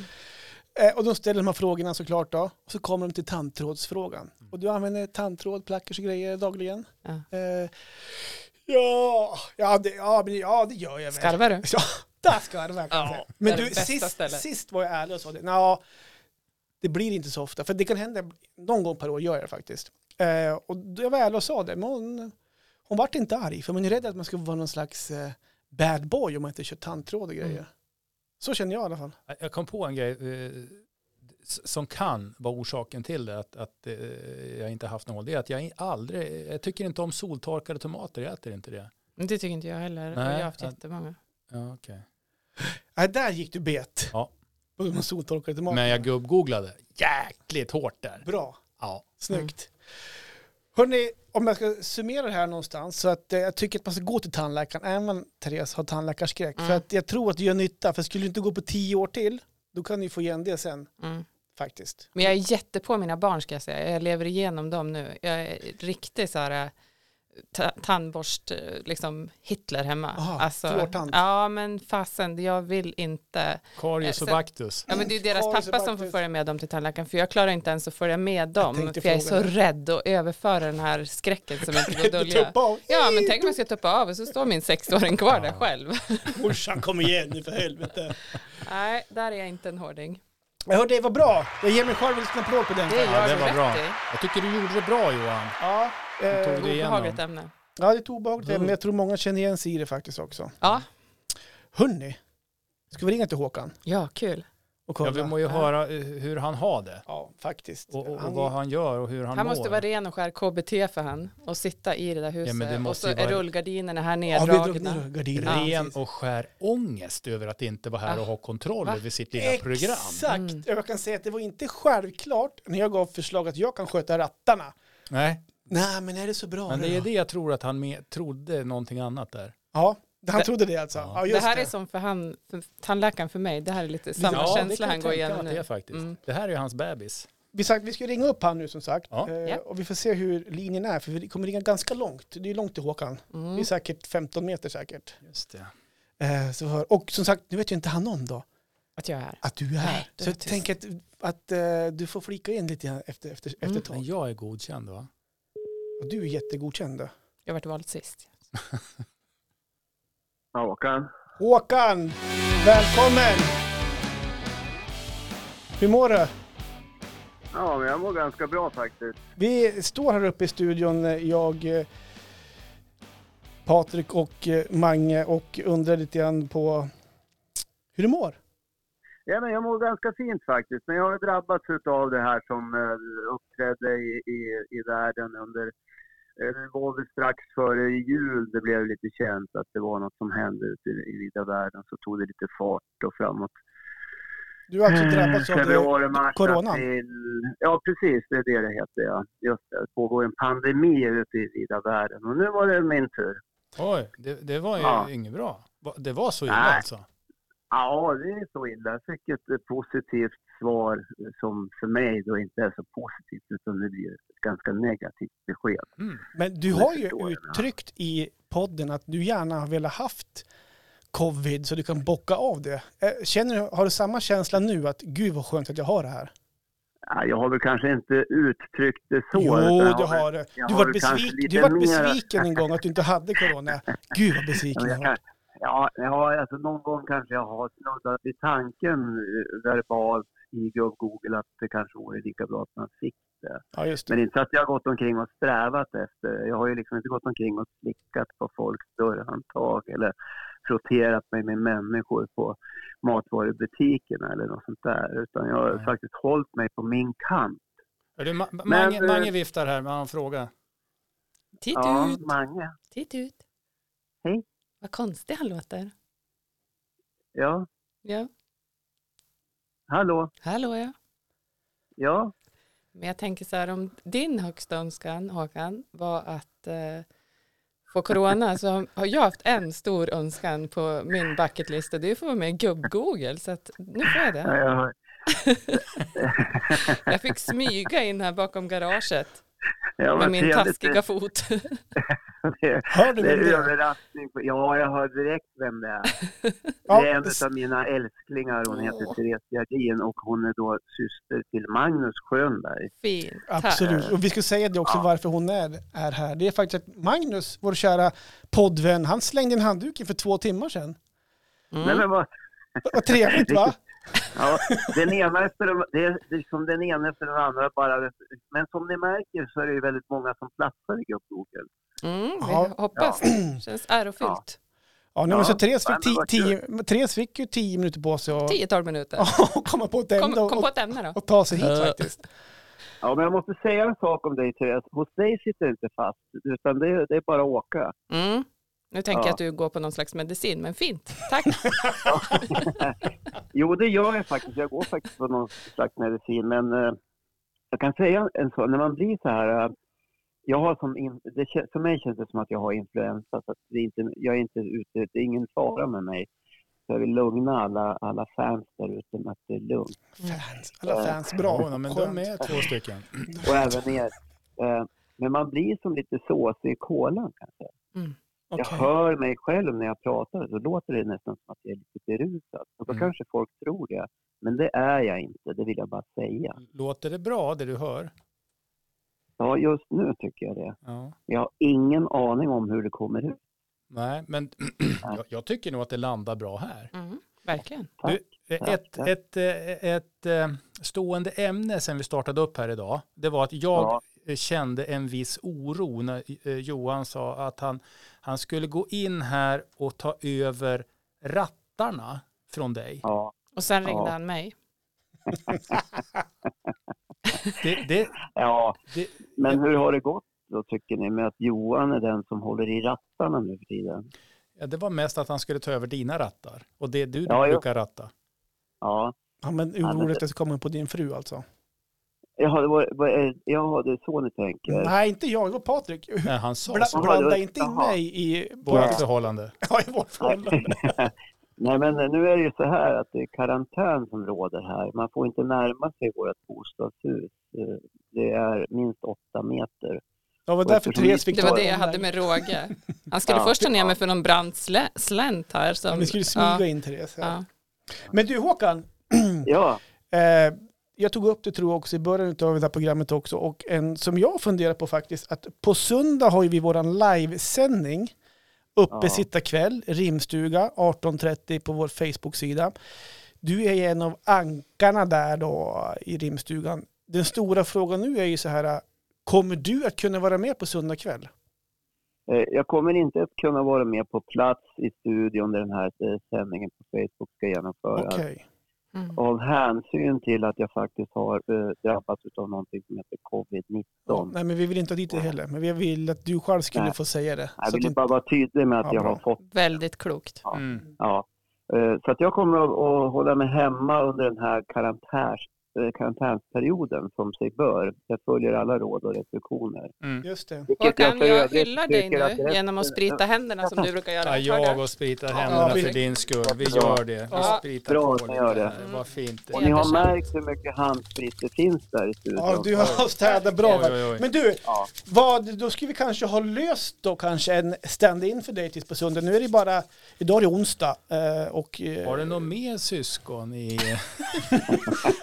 Eh, och de ställer de här frågorna såklart då. Och så kommer de till tandtrådsfrågan. Och du använder tandtråd, plackers och grejer dagligen? Mm. Ja. Eh, ja, ja, det, ja, men, ja, det gör jag väl. Skarvar du? Ja, där skarvar jag. kan jag Ja, säga. det Men är det du, bästa sist, stället. sist var jag ärlig och sa det. Nå, Det blir inte så ofta, för det kan hända någon gång per år gör jag det faktiskt. Eh, och jag var ärlig och sa det, men hon, hon vart inte arg, för man är rädd att man ska vara någon slags eh, bad boy om man inte kör tandtråd och grejer. Mm. Så känner jag i alla fall. Jag kom på en grej eh, s- som kan vara orsaken till det, att, att eh, jag inte haft någon. Det är att jag aldrig, jag tycker inte om soltorkade tomater, jag äter inte det. Men Det tycker inte jag heller. och Nej, jag har haft att- jättemånga. Ja, okay. Nej, där gick du bet. Ja. På de soltorkade tomaterna. Men jag gubbgooglade jäkligt hårt där. Bra. Ja. Snyggt. Hörrni, om jag ska summera det här någonstans så att eh, jag tycker att man ska gå till tandläkaren, även om Therese har tandläkarskräck. Mm. För att jag tror att det gör nytta, för skulle du inte gå på tio år till, då kan du ju få igen det sen Mm. faktiskt. Men jag är jätte på mina barn ska jag säga. Jag lever igenom dem nu. Jag är riktig så här eh, ta- tandborst, eh, liksom Hitler hemma. Alltså, Aha, fluortand. ja men fasen, jag vill inte. Karius och Eh, sen- baktus. Ja men det är ju deras Karius och pappa som får baktus. följa med dem till tandläkaren för jag klarar inte ens att följa med dem. tänkte för jag är fråga så rädd att överföra den här skräcken som inte *laughs* går att dölja. Tuppa av. Ja men tänk om jag ska tuppa av och så står min sexåring kvar där Ja. själv. *laughs* Morsan kom igen nu för helvete. Nej, där är jag inte en hårding. Jag hörde det var bra. Jag ger mig själv en liten applåd på den. Det gör Ja, det du var rätt bra. i. Jag tycker du gjorde det bra Johan. Ja, eh, Tog det igenom. Obehagligt ämne. ja, det är ett obehagligt Mm. ämne, men jag tror många känner igen sig i det faktiskt också. Ja, Hörrni, ska vi ringa till Håkan ja kul. och kolla? Ja, vi må ju höra eh, hur han har det. Ja, faktiskt. Och, och, och Han- vad han gör och hur han, Han mår. måste vara ren och skär KBT för han och sitta i det där huset. Ja, men det och måste så ju är vara- rullgardinerna här Ja, vi drog neddragna. ner gardinerna. Ren precis. och skär ångest över att inte vara här Ah. och ha kontroll Va? över sitt lilla program. Exakt. Mm. Jag kan säga att det var inte självklart när jag gav förslag att jag kan sköta rattarna. Nej, Nej, men är det så bra men det nu är då? det jag tror att han med, trodde någonting annat där. Ja, han Det- trodde det alltså. Ja, Ja. just Det här är som för, han, för tandläkaren för mig. Det här är lite samma ja, det känsla kan jag han går tänka mig igenom att Det, är nu. faktiskt. Mm. det här är ju hans bebis. vi, sagt, vi ska ringa upp han nu som sagt. Ja. Eh, Ja. Och vi får se hur linjen är, för vi kommer ringa ganska långt. Det är långt till Håkan. Det är Mm. säkert 15 meter säkert. Just det. Eh, så hör. Och som sagt, nu vet ju inte han om då Att jag är här. att du är här. Nej, du så är jag tyst. tänker att, att eh, du får flika in lite grann efter, efter, efter Mm. ett Men tag. jag är godkänd va? Och du är jättegodkänd. då. Jag vart vald sist. Håkan. Håkan, välkommen! Hur mår du? Ja, men jag mår ganska bra faktiskt. Vi står här uppe i studion, eh, jag, eh, Patrik och eh, Mange och undrar lite grann på hur du mår. Ja, men jag mår ganska fint faktiskt. Men jag har ju drabbats av det här som eh, uppträdde i, i, i världen under... eh, Det var väl strax före jul det blev lite känt att det var något som hände ute i, i vida världen. Så tog det lite fart och framåt. Du har Mm, alltså drabbats av det. Februari, mars, coronan. april. Ja, precis. Det är det det heter, ja. Just det. Det pågår en pandemi ute i vida världen. Och nu var det min tur. Oj, det, det var ju Ja. inget bra. Va- Det var så illa Nej. alltså? Ja, det är så illa. Jag fick ett eh, positivt svar eh, som för mig då inte är så positivt utan det blir ett ganska negativt besked. Mm. Men du Jag har ju förstår det, ja. uttryckt i podden att du gärna har velat haft covid så du kan bocka av det. Eh, Känner, du- har du samma känsla nu att gud vad skönt att jag har det här? Ja, jag har väl kanske inte uttryckt det så. jo, utan jag du väl- har det. jag Du har var, väl kanske besvik, lite du var mer- besviken en gång att du inte hade corona. Gud vad Ja, besviken men jag jag var. kan, ja, ja, alltså någon gång kanske jag har snuddat vid tanken eh, verbalt i Google att det kanske vore lika bra att man fick. Ja, just Men det. inte så att jag har gått omkring och strävat efter. Jag har ju liksom inte gått omkring och slickat på folks dörrhandtag eller frotterat mig med människor på matvarubutikerna eller något sånt där. Utan jag har Nej. faktiskt hållit mig på min kant. Är du, Ma- Ma- Mange, eh, Mange viftar här med en fråga. Titt Ja, ut, Mange. titt ut. Hej. Vad konstig han låter. Ja, Ja, hallå. hallå ja. Ja, Men jag tänker så här, om din högsta önskan, Håkan, var att eh, få corona, så har jag haft en stor önskan på min bucketlist och det är att få vara med i gubb-Google, så att nu får jag det. jag, Jag fick smyga in här bakom garaget jag med min trevligt. taskiga fot. *laughs* Det, Hör du det vem det är är? överraskning. på- Ja, jag hör direkt vem det är. det är Ja, en av mina älsklingar. Hon heter Åh. Therese Gerdin och hon är då syster till Magnus Schönberg. Fint. tack. absolut. Och vi ska säga det också Ja. varför hon är, är här. Det är faktiskt att Magnus, vår kära poddvän, han slängde in handduken för två timmar sedan. Nej, Mm. men vad *laughs* Vad trevligt va? Ja, den ena efter den, det är liksom den ena efter den andra bara. Men som ni märker så är det ju väldigt många som platsar i gubbboken. Mm, vi Ja. hoppas det. Känns ärofyllt. Ja, nej, men så Ja, Therese nej, fick, men vad ti- tio, Therese fick ju tio minuter på sig att *laughs* 10-12 minuter. och komma på ett ämne Kom, och, kom på och, ett ämne då. och ta sig hit Eh. faktiskt. Ja, men jag måste säga en sak om dig Therese. Hos dig sitter det inte fast, utan det, är- det är bara att åka. Mm. Nu tänker Ja. jag att du går på någon slags medicin, men fint. *laughs* Tack. Jo, det gör jag faktiskt. Jag går faktiskt på någon slags medicin. Men eh, jag kan säga en sak. När man blir så här... Eh, jag har som in, det, kän- för mig känns det som att jag har influensa. Så att det är inte, jag är inte ute, det är ingen fara med mig. Så jag vill lugna alla, alla fans där ute med att det är lugnt. Fans, alla Eh. fans, bra. Ja, men de är två stycken. Och även er. Eh, men man blir som lite såsig i kolan kanske. Jag Okej. hör mig själv när jag pratar. Då låter det nästan som att jag är lite berusad. Och då Mm. kanske folk tror det. Men det är jag inte. Det vill jag bara säga. Låter det bra det du hör? Ja, just nu tycker jag det. Ja. Jag har ingen aning om hur det kommer ut. Nej, men *clears throat* jag, jag tycker nog att det landar bra här. Mm. Verkligen. Eh, Ett, Ja. ett, eh, ett eh, stående ämne sen vi startade upp här idag, det var att jag Ja. eh, kände en viss oro när eh, Johan sa att han, han skulle gå in här och ta över rattarna från dig. Ja. Och sen ringde Ja. han mig. Det, det, ja, det, men hur har det gått då tycker ni med att Johan är den som håller i rattarna nu för tiden? ja, det var mest att han skulle ta över dina rattar och det du Ja, ja. brukar ratta. Ja, Ja, men Ja, men oroligt det- att du kommer på din fru alltså. jaha, det, var, vad är- jaha, det är så ni tänker? Nej, inte jag, det var Patrik. Nej, han sa Bla, så. Jaha, det blanda var- inte in jaha. mig i Vårat Ja. förhållande. Ja, i vårt *laughs* förhållande. Nej, men nu är det ju så här att det är karantän som råder här. Man får inte närma sig vårt bostadshus. Eh, Det är minst åtta meter. Ja, var därför Eftersom Therese vi- fick Det ta var det jag den hade där. med råge. Han skulle Ja, först ta ner ja. mig för någon brant slä, slänt här. Som, Ja, ni skulle smyga ja, in Therese. Ja. ja. Men du Håkan, Mm. Ja, eh, jag tog upp det tror jag också i början av det här programmet också och en som jag funderar på faktiskt att på söndag har ju vi våran livesändning uppe Ja. sitta kväll, rimstuga 18.30 på vår Facebook-sida. Du är ju en av ankarna där då i rimstugan. Den stora frågan nu är ju så här, kommer du att kunna vara med på söndag kväll? Eh, Jag kommer inte att kunna vara med på plats i studion där den här eh, sändningen på Facebook ska genomföras. Okej. Mm. av hänsyn till att jag faktiskt har eh, drabbats av någonting som heter covid-19. Ja, nej, men vi vill inte ha dit det heller, men vi vill att du själv skulle Nej. få säga det. Jag Så att vill inte- bara vara tydlig med att Ja, jag har bra. fått. Väldigt klokt. Ja. Mm. Ja. Eh, Så att jag kommer att, att hålla mig hemma under den här karantärs, eh, karantänsperioden som sig bör. Jag följer alla råd och restriktioner. Mm. Just det. Vilket Håkan, för jag övrigt hyllar dig tycker att nu resten- genom att sprita händerna som du brukar göra. Ja, Hör jag du? och sprita händerna vi- för din skull. Vi Bra. gör det. Vi Ja. spritar Bra att på ni gör lite det. här. Vad fint. Och ni har Jättekänt. märkt hur mycket handsprit det finns där i studion. Ja, du har städat bra. Oj, oj, oj. Men du, Ja. vad, då ska vi kanske ha löst då kanske en stand-in för dig tills på söndag. Nu är det bara, idag är det onsdag eh, och... eh, Har du något mer syskon i,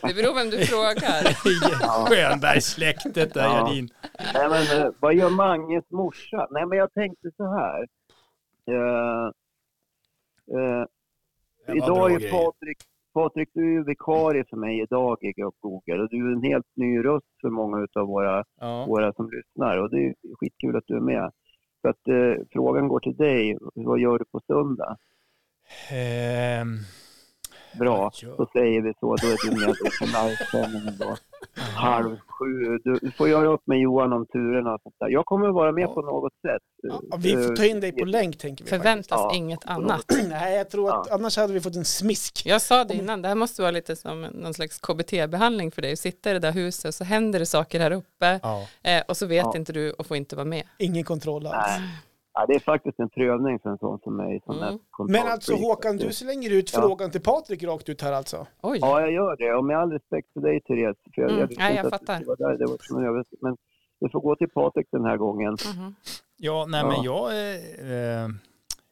Det beror vem du *laughs* frågar. i Skönbergssläktet där, Ja. Gerdin? Nej, men, eh, vad gör Manges morsa? Nej, men jag tänkte så här. Eh, eh, Det var bra idag är ju grejer. Patrik, Patrik, du är ju vikarie för mig idag i Gubb Google och du är en helt ny röst för många av våra, Ja. våra som lyssnar och det är ju skitkul att du är med. Så att eh, frågan går till dig, vad gör du på söndag? Ehm, Bra, Vad gör- då säger vi så, då är du med på livesändningen då. Halv sju, du, du får göra upp med Johan om turerna och sånt där. Jag kommer att vara med på något sätt. Eh, ja, vi får ta in dig på länk tänker vi. Förväntas Ja. inget annat. faktiskt. *clears throat* Nej, jag tror att annars hade vi fått en smisk. Jag sa det innan, det här måste vara lite som någon slags KBT-behandling för dig. Du sitter i det där huset och så händer det saker här uppe Ja. eh, och så vet Ja. inte du och får inte vara med. Ingen kontroll alls. Nej. Ja, det är faktiskt en prövning för en sån som mig. Som Mm. är kontrollfreak. Men alltså Håkan, du slänger ut Ja. frågan till Patrik rakt ut här alltså. Oj, Ja, jag gör det. Och med all respekt för dig, Therese. För jag, Mm. jag visste Nej, inte jag att du fattar. var där. Det var som en överraskning. Men du får gå till Patrik den här gången. Mhm. ja, nej men jag är... Eh, Nej, men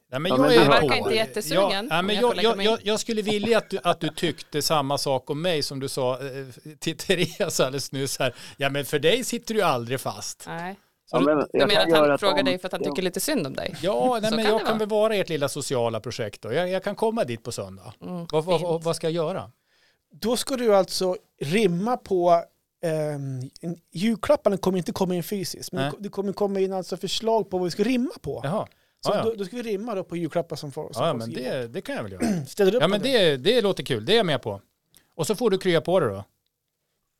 jag men är du på. verkar inte jättesugen, Ja, nej, om men jag jag, får lägga jag, mig. jag, jag skulle vilja att du, att du tyckte samma sak om mig som du sa eh, till *laughs* Therese alldeles nyss. Här. Ja, men för dig sitter du ju aldrig fast. nej. Ja, men Du menar kan att göra han ett frågar om- dig för att han tycker lite synd om dig? Ja, nej, *laughs* Så men kan jag det kan vara. bevara ert lilla sociala projekt då. Jag, jag kan komma dit på söndag. Mm, Vad, vad, fint. vad, vad ska jag göra? Då ska du alltså rimma på ehm, en- julklapparna kommer inte komma in fysiskt, men Nej. det kommer komma in alltså förslag på vad vi ska rimma på. Jaha. Så Ja, ja. Då, då ska vi rimma då på julklappar som får som Ja, ja, får men skriva. det, det kan jag väl *clears throat* göra. Ställer du upp Ja, på men det, det låter kul. Det är jag med på. Och så får du krya på det då.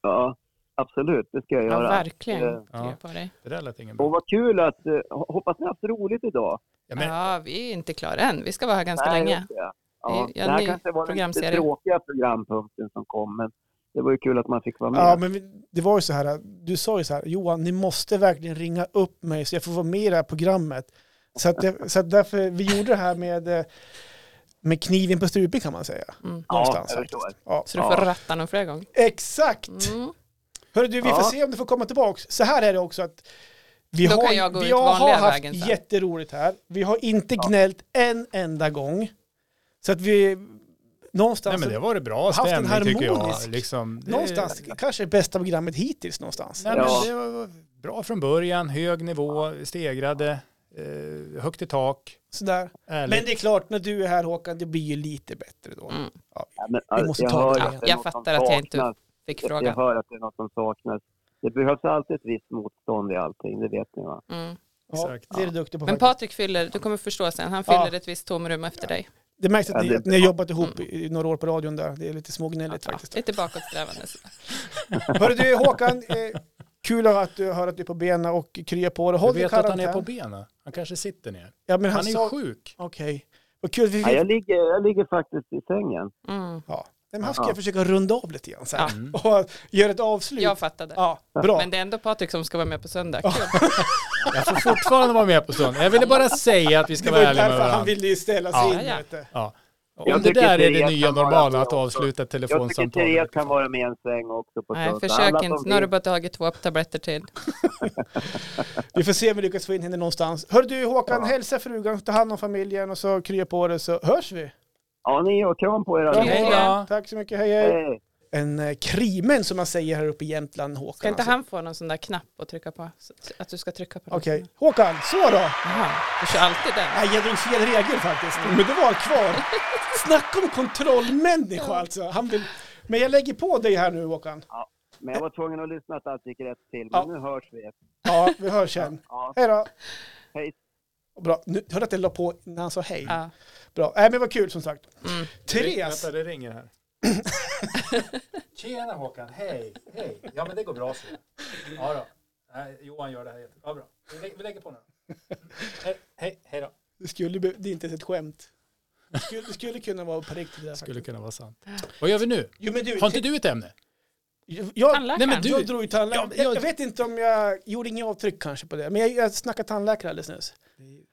Ja, absolut. Det ska jag Ja, göra. Eh, verkligen. Ja. Ja. På dig. Det där lät ingen bra. Och vad kul att... eh, Hoppas ni har haft roligt idag. Ja, men, ja, vi är inte klara än. Vi ska vara här ganska Nej, länge. just det. Ja, Det är ju det en här ny kanske var den lite programserie. tråkiga programpunkten som kom, men det var ju kul att man fick vara med. Ja, men vi- det var ju så här, du sa ju så här, Johan, ni måste verkligen ringa upp mig så jag får vara med i det här programmet. Så, att det, så att därför, vi gjorde det här med, eh, med kniven på strupen kan man säga. Mm. Någonstans jag faktiskt. förstår. Ja. Så du får ratta någon fler gånger. Exakt! Mm. Hörru du, vi Ja. får se om du får komma tillbaka. Så här är det också att vi Då har, kan jag gå vi ut har vanliga haft vägen sen. jätteroligt här. Vi har inte Ja. gnällt en enda gång. Så att vi någonstans, nej, men det var det bra Alltså, haft en stämning tycker jag. harmonisk- Liksom, det, någonstans kanske det bästa programmet hittills någonstans. Nej, men Ja. det var bra från början, hög nivå, stegrade, eh, högt i tak, Sådär. ärligt. Men det är klart, när du är här Håkan, det blir ju lite bättre då. Mm. Ja, men, alltså, Vi måste jag ta hör det. att det är Jag något som fattar att jag inte saknas. Fick Jag- Jag frågan. hör att det är något som saknas. Det behövs alltid ett visst motstånd i allting, det vet ni va? Mm. Ja, Exakt. det är du duktig på Men faktiskt. Patrik fyller, du kommer förstå sen, han Ja. fyller ett visst tomrum efter dig. Det märks att Ja, ni, det- att ni har jobbat ihop Mm. i i några år på radion där. Det är lite smågnälligt faktiskt. Lite bakåtsträvande. sådär. Hörru du Håkan, eh, kul att du hör att du är på benen och krya på dig. Du Håll dig i vet att han karantän. är på benen? Han kanske sitter ner. Ja, men han, Han är sa... ju sjuk. Okej. Vad kul. Vi Ja, fick... jag, ligger, jag ligger faktiskt i sängen. Mm. ja. Nej, men här ska Ja. jag försöka runda av lite grann sen. Ja. Mm. *laughs* Och göra ett avslut. Jag fattade. Ja, bra. Men det är ändå Patrik som ska vara med på söndag. Kul. Jag får fortfarande vara med på stunden. Jag ville bara säga att vi Det ska var vara ju ärliga med därför han varandra. ville ju ställa sig in. Ja. Ja, ja. Vet du. Ja. Om Jag det tycker där är det Therese nya kan vara normala, med att också. avsluta ett Jag tycker telefonsamtal. Therese kan vara med i en säng också på Nej, söndag. försök Alla inte. som Nu har du vill. bara tagit två tabletter till. Vi får se om vi lyckas få in henne någonstans. Hör du Håkan, Ja. hälsa frugan, ta hand om familjen och så krya på dig så hörs vi. Ja, ni och kram på er Kram allihopa. på Hej dig. då. Tack så mycket, hej hej. Hej. En eh, krimen som man säger här uppe i Jämtland, Håkan. Ska inte alltså. han få någon sån där knapp att trycka på? Så- Att du ska trycka på den? Okej, Håkan, så då. Jaha, du kör alltid den. Nej, jag drog fel regel faktiskt. Mm. Men det var kvar. Snacka om kontrollmänniska alltså. Han vill... Men jag lägger på dig här nu Håkan. Men jag var tvungen att lyssna att allt gick rätt till. Men Ja. nu hörs vi. Ja, vi hörs sen. Ja, Hej då. hej. Bra. Nu, hörde att jag la på när han sa hej. Ja. Bra. Nej, men vad kul som sagt. Mm. Therese. Vänta, det ringer här. *laughs* Tjena Håkan, hej, hej. Ja men det går bra så. Ja då. Nej, Johan gör det här jättebra. bra. Vi, lä- vi lägger på nu. Hej, hej, hej då. Det, skulle, be- det är inte ens ett skämt. Det skulle, det skulle kunna vara på riktigt. Det där, Skulle faktiskt. kunna vara sant. Vad gör vi nu? Jo, men du, Har inte du ett ämne? jag, Tandläkaren. Nej, men du- jag drog ju tandläkaren. Ja, Jag, jag- jag vet inte om jag gjorde inget avtryck kanske på det. Men jag, jag snackade tandläkare alldeles nyss.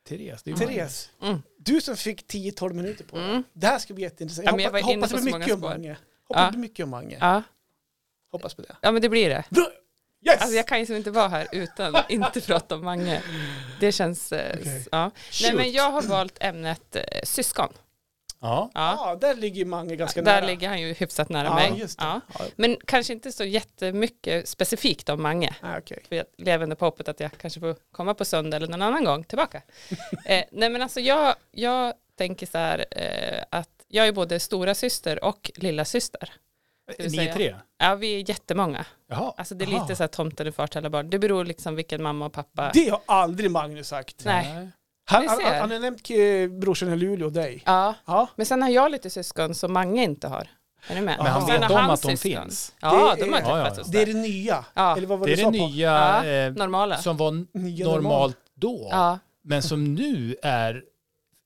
Therese, det är ju Mange. Therese, Mm. du som fick 10-12 minuter på dig. Mm. Det här ska bli jätteintressant. Ja, Jag men jag hoppas, var inne hoppas på det så blir många mycket om spår. Mange. Hoppas Ja. det blir mycket om Mange. Ja. Hoppas på det. ja, men det blir det. Bra! Yes! Alltså jag kan ju som inte vara här *laughs* utan att inte prata om Mange. Det känns... eh, Okej. s- Ja. Nej, Shoot. men jag har valt ämnet eh, syskon. Ja. Ja. Ja, där ligger Mange ganska Där nära. ligger han ju hyfsat nära Ja, mig. just det. Ja. Ja. Men kanske inte så jättemycket specifikt om Mange. Ah, okej. För jag lever ändå på hoppet att jag kanske får komma på söndag eller någon annan *laughs* gång tillbaka. eh, nej men alltså jag, jag tänker så här eh, att jag är både stora syster och lilla syster. Ska vi Ni säga? tre? Ja vi är jättemånga. Jaha. Alltså det är Aha. lite så här tomten är far till alla barn. Det beror liksom vilken mamma och pappa. Det har aldrig Magnus sagt. Nej. Han, du han, ser. han har nämnt eh, brorsan i Luleå och dig. Ja. Ja. Men sen har jag lite syskon som Mange inte har. Är du med? Men han Och vet sen har om han att de syskon. finns. Ja, Det de har är- Ja, ja, träffats ja. hos Det är där. det nya. Ja. Eller vad var Det det du är det sa? pappa? nya Ja, eh, normala. som var n- Nya normalt. normalt då, Ja, men som nu är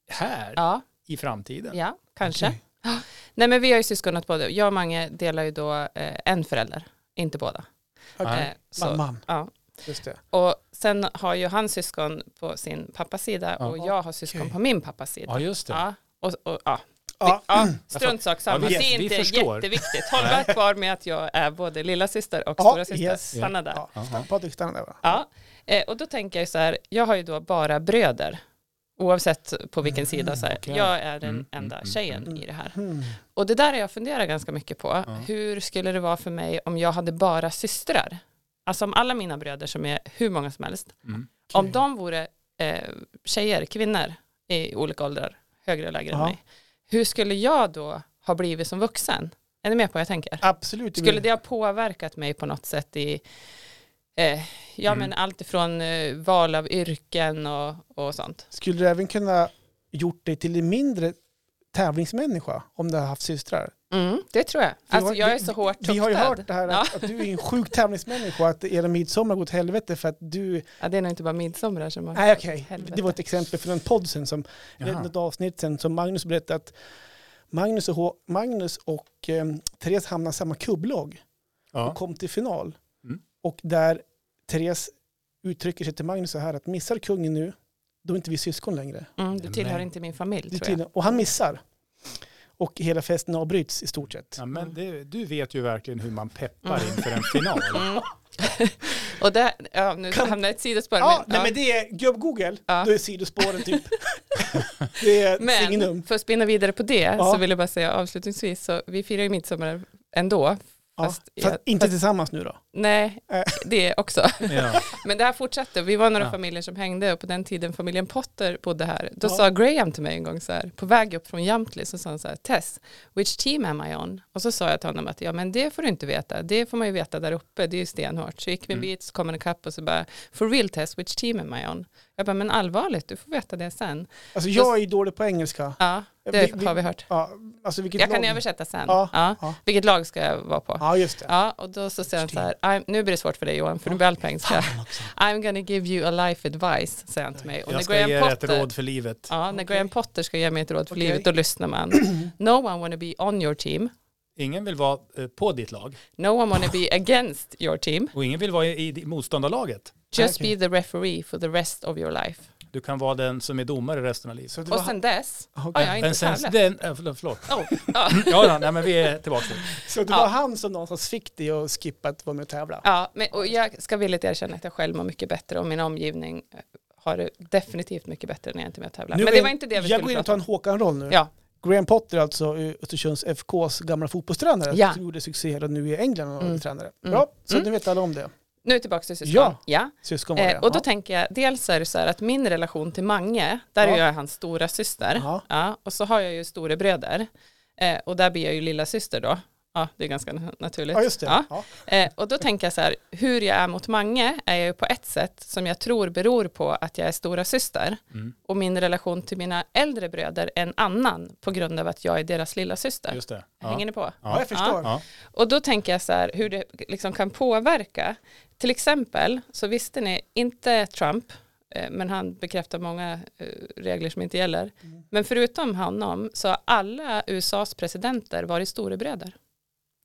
här ja. i framtiden. Ja, kanske. Mm. Ja. Nej men vi har ju syskon åt båda. Jag och Mange delar ju då eh, en förälder, inte båda. Okej. Eh, så, Mamman, ja. just det. Och sen har ju han syskon på sin pappas sida Ja. och jag har syskon Okej. på min pappas sida. Ja, just det. Ja. Och, och, ja. Ja. Ja, strunt sak samma, Ja, vi- det är vi inte förstår. *laughs* jätteviktigt. Håll bara kvar med att jag är både lilla syster och Ja, stora syster. yes. Stanna där. Ja. Stanna- Patrik, stanna där va? Ja, eh, och då tänker jag så här, jag har ju då bara bröder, oavsett på Mm, vilken sida. Så här. okej. Jag är den Mm, enda mm, tjejen i det här. Hmm. Och det där har jag funderat ganska mycket på. Hur skulle det vara för mig om jag hade bara systrar? Alltså om alla mina bröder som är hur många som helst, Mm. om de vore eh, tjejer, kvinnor i olika åldrar, högre och lägre Ja. än mig, hur skulle jag då ha blivit som vuxen? Är ni med på vad jag tänker? Absolut. Skulle det ha påverkat mig på något sätt i eh, ja, Mm. men allt ifrån eh, val av yrken och, och sånt? Skulle du även kunna gjort dig till en mindre tävlingsmänniska om du har haft systrar? Mm, det tror jag. Vi har- Alltså, jag är så hårt Vi har ju tuktad. hört det här Ja. att, att du är en sjuk tävlingsmänniska och att era midsommar går åt helvete för att du... Ja, det är nog inte bara midsommar som har... Nej okej, helvete. det var ett exempel från en podd sen som, eller Jaha. ett avsnitt sen som Magnus berättade att Magnus och, H- Magnus och eh, Therese hamnade i samma kubblag och Ja. kom till final. Mm. Och där Therese uttrycker sig till Magnus så här att missar kungen nu, då är inte vi syskon längre. Mm, du tillhör Nej. inte min familj Det är tror jag. tydligen- Och han missar. Och hela festen avbryts i stort sett. Ja, men det, du vet ju verkligen hur man peppar inför en *laughs* final. Mm. och där, ja, nu hamnar jag i ett sidospår. Ja, men, nej, ja. men det är gubb-Google, Ja. då är sidospåren typ. *laughs* det är Men signum. för att spinna vidare på det Ja. så vill jag bara säga avslutningsvis så vi firar ju midsommar ändå. Ja. Fast, fast jag- inte tillsammans nu då? Nej, Äh. det också. Ja. Men det här fortsatte. Vi var några Ja. familjer som hängde och på den tiden familjen Potter bodde här. Då Ja. sa Graham till mig en gång så här, på väg upp från Jamtli så sa han så här, Tess, which team am I on? Och så sa jag till honom att ja men det får du inte veta, det får man ju veta där uppe, det är ju stenhårt. Så gick vi en Mm. bit, så kom han ikapp och så bara, for real Tess, which team am I on? Jag bara, men allvarligt, du får veta det sen. Alltså jag är ju dålig på engelska. Ja, Vi- det vi- har vi hört. Ja, alltså vilket Jag kan lag- översätta sen. Ja, Ja. ja. Vilket lag ska jag vara på? Ja, just det. Ja, och då så säger han så här, "I'm- nu blir det svårt för dig Johan, för du är väl på engelska. I'm gonna give you a life advice, säger han till mig. Och Jag när ska ge Graham er ett Potter, råd för livet. ja, när Graham Potter ska ge mig ett råd för Okej. livet, då lyssnar man. No one wanna be on your team, Ingen vill vara eh, på ditt lag no one wanna be against your team, och ingen vill vara i, i motståndarlaget. just Okej. be the referee for the rest of your life. Du kan vara den som är domare resten av livet. Så det Och var- sen dess har Okej. jag Men inte sen, tävlat. den, eh, förlåt, förlåt. Oh, ja. Ja, ja, nej, men vi är tillbaka nu. Så det Ja. var han som någonstans fick dig att skippa att vara med och tävla? Ja, men, och jag ska villigt erkänna att jag själv mår mycket bättre och min omgivning eh, har det definitivt mycket bättre när jag inte är med och tävlar. Nu Men går det jag- var inte det vi Jag går skulle in och prata tar om. en Håkan-roll nu. Ja, Graham Potter alltså eh, Östersunds FKs gamla fotbollstränare Ja. som gjorde succé här och nu i England och Mm. är tränare. Mm. Bra, så Mm. nu vet alla om det. nu tillbaka till syskon. Ja. ja. Syskon var det. Eh, och då ja. tänker jag, dels är det så här att min relation till Mange, där Ja. är jag hans stora syster. Ja. Ja. och så har jag ju storebröder. Eh, och där blir jag ju lilla syster då. Ja, det är ganska na- naturligt. ja, just det. Ja. Ja. Eh, och då tänker jag så här, hur jag är mot Mange är jag ju på ett sätt som jag tror beror på att jag är stora syster. Mm. Och min relation till mina äldre bröder är en annan på grund av att jag är deras lilla syster. Just det. Hänger Ja. ni på? ja, jag förstår. Ja. Och då tänker jag så här, hur det liksom kan påverka. Till exempel så visste ni, inte Trump, eh, men han bekräftar många eh, regler som inte gäller. Mm. Men förutom honom så har alla USAs presidenter varit storebröder.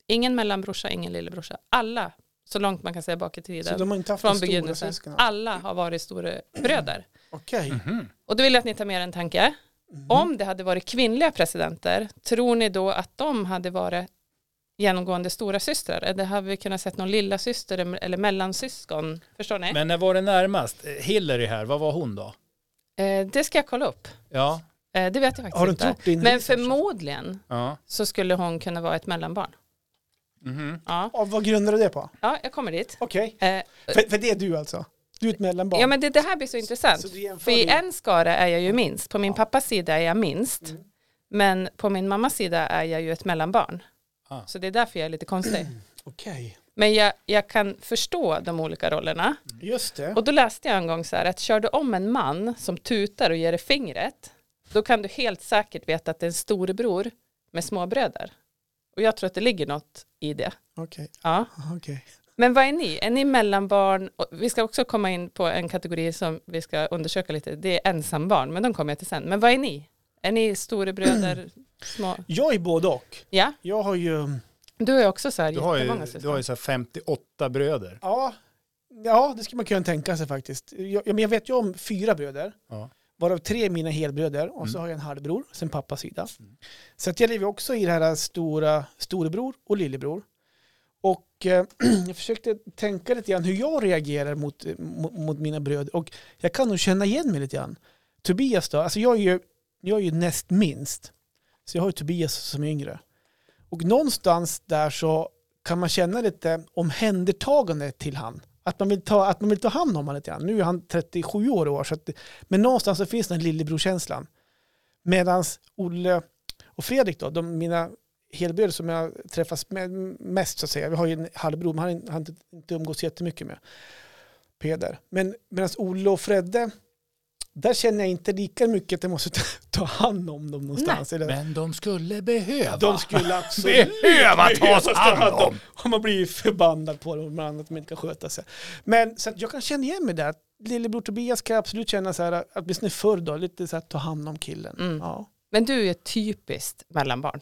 Ingen mellanbrorsa, ingen lillebrorsa. Alla, så långt man kan säga bakåt i Så tiden, de har inte haft de från stora begynnelsen, svenskarna? alla har varit storebröder. Okej. Mhm. Och då vill jag att ni tar med er en tanke. Mhm. Om det hade varit kvinnliga presidenter, tror ni då att de hade varit genomgående stora systrar? Eller hade vi kunnat sett någon lilla syster em- eller mellansyskon? Förstår ni? Men när var det närmast? Eh, Hillary här, vad var hon då? Eh, det ska jag kolla upp. Ja, Eh, det vet jag faktiskt Har du inte inte. gjort din Men research? förmodligen ja. så skulle hon kunna vara ett mellanbarn. Mhm. Ja, Ja, vad grundar du det på? ja jag kommer dit. Okej. Eh, För, för det är du alltså? Du är ett mellanbarn? ja, men det, det här blir så intressant. Så du jämför För i din- en skara är jag ju minst. På min pappas sida är jag minst. Mm. Men på min mammas sida är jag ju ett mellanbarn. Ah. Så det är därför jag är lite konstig. Okej. Men jag, jag kan förstå de olika rollerna. Just det. Och då läste jag en gång så här att kör du om en man som tutar och ger dig fingret, då kan du helt säkert veta att det är en storebror med småbröder. Och jag tror att det ligger något i det. Okej. Ja. Okej. Men vad är ni? Är ni mellanbarn? Och vi ska också komma in på en kategori som vi ska undersöka lite. Det är ensambarn, men de kommer jag till sen. Men vad är ni? Är ni *clears throat* storebröder, små? Jag är både och. Ja, Jag har ju... du är också så här Du har ju, jättemånga du har syskon. ju så här 58 bröder. Ja, ja, det skulle man kunna tänka sig faktiskt. Jag, men jag vet ju om fyra bröder, Ja. varav tre är mina helbröder och så Mm. har jag en halvbror sen pappas sida. Mm. Så att jag lever också i det här stora storebror och lillebror. Och eh, *clears throat* jag försökte tänka lite grann hur jag reagerar mot, eh, mot, mot mina bröder och jag kan nog känna igen mig lite grann. Tobias då, alltså jag är ju, jag är ju näst minst. Så jag har ju Tobias som är yngre. Och någonstans där så kan man känna lite omhändertagande till han. Att man vill ta, att man vill ta hand om honom lite grann. Nu är han 37 år i år, så att, men någonstans så finns den lillebrorkänslan. Medan Olle och Fredrik då, de, mina helbröder som jag träffas med mest så att säga. Vi har ju en halvbror, men han har han inte- inte umgås jättemycket med. Peder. Men medan Olle och Fredde, där känner jag inte lika mycket att jag måste *laughs* ta- ta hand om dem någonstans. Eller, Men de skulle behöva. de skulle absolut behöva *laughs* tas hand om. och man blir ju förbannad på dem ibland att de inte kan sköta sig. Men så att jag kan känna igen mig där. Lillebror Tobias kan jag absolut känna så här, åtminstone förr då, lite så här ta hand om killen. Mm. Ja. Men du är typiskt mellanbarn.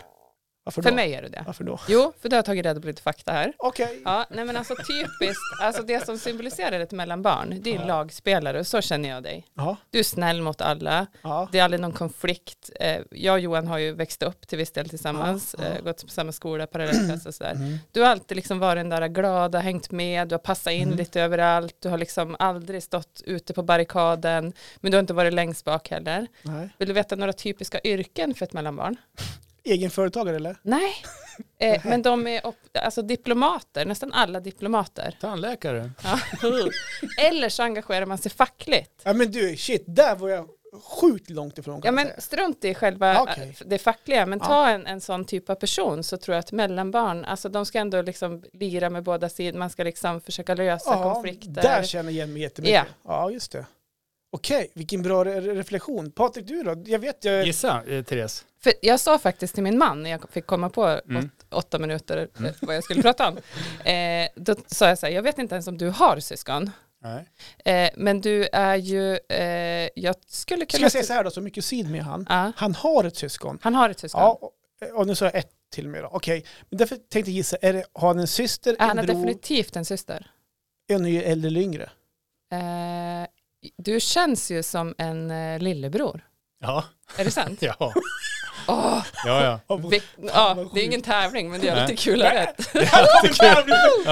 Varför För då? mig är du det. Varför då? Jo, för du har jag tagit reda på lite fakta här. Okej. Ja, nej men alltså typiskt, alltså det som symboliserar ett mellanbarn, det är en lagspelare och så känner jag dig. Ja. Du är snäll mot alla, Ja. det är aldrig någon konflikt. Eh, Jag och Johan har ju växt upp till viss del tillsammans, eh, gått på samma skola, parallellklass och sådär. Mm. Du har alltid liksom varit den där glada, hängt med, du har passat in Mm. lite överallt, du har liksom aldrig stått ute på barrikaden, men du har inte varit längst bak heller. Nej. Vill du veta några typiska yrken för ett mellanbarn? Egenföretagare eller? *laughs* Nej, eh, men de är op- alltså diplomater, nästan alla diplomater. Tandläkare. Ja. *laughs* Eller så engagerar man sig fackligt. Ja men du, shit, där var jag sjukt långt ifrån kan Ja jag men säga. strunt i själva eh, Okej. det fackliga, men Ja. ta en, en sån typ av person så tror jag att mellanbarn, alltså de ska ändå liksom lira med båda sidor, man ska liksom försöka lösa konflikter. där känner jag igen mig jättemycket. Ja. Ja, just det. Okej, vilken bra re reflektion. Patrik, du då? Jag vet, jag... Gissa, eh, Therese. För jag sa faktiskt till min man när jag fick komma på Mm. åt, åtta minuter Mm. eh, vad jag skulle prata om, eh, då sa jag så här, jag vet inte ens om du har syskon, Nej. eh, men du är ju, eh, jag skulle Ska kunna... jag säga så här då, så mycket syd med han. Ja, Han har ett syskon. han har ett syskon. Ja, och, och nu sa jag ett till mig då. Okej, men därför tänkte jag gissa, är det, har han en syster, han en har bror, definitivt en syster. en ny äldre eller *laughs* yngre? Eh, du känns ju som en eh, lillebror. Ja, *laughs* Är det sant? ja, Åh, ja. ja. vi, ja, det är ingen tävling men det är lite kul att ha rätt.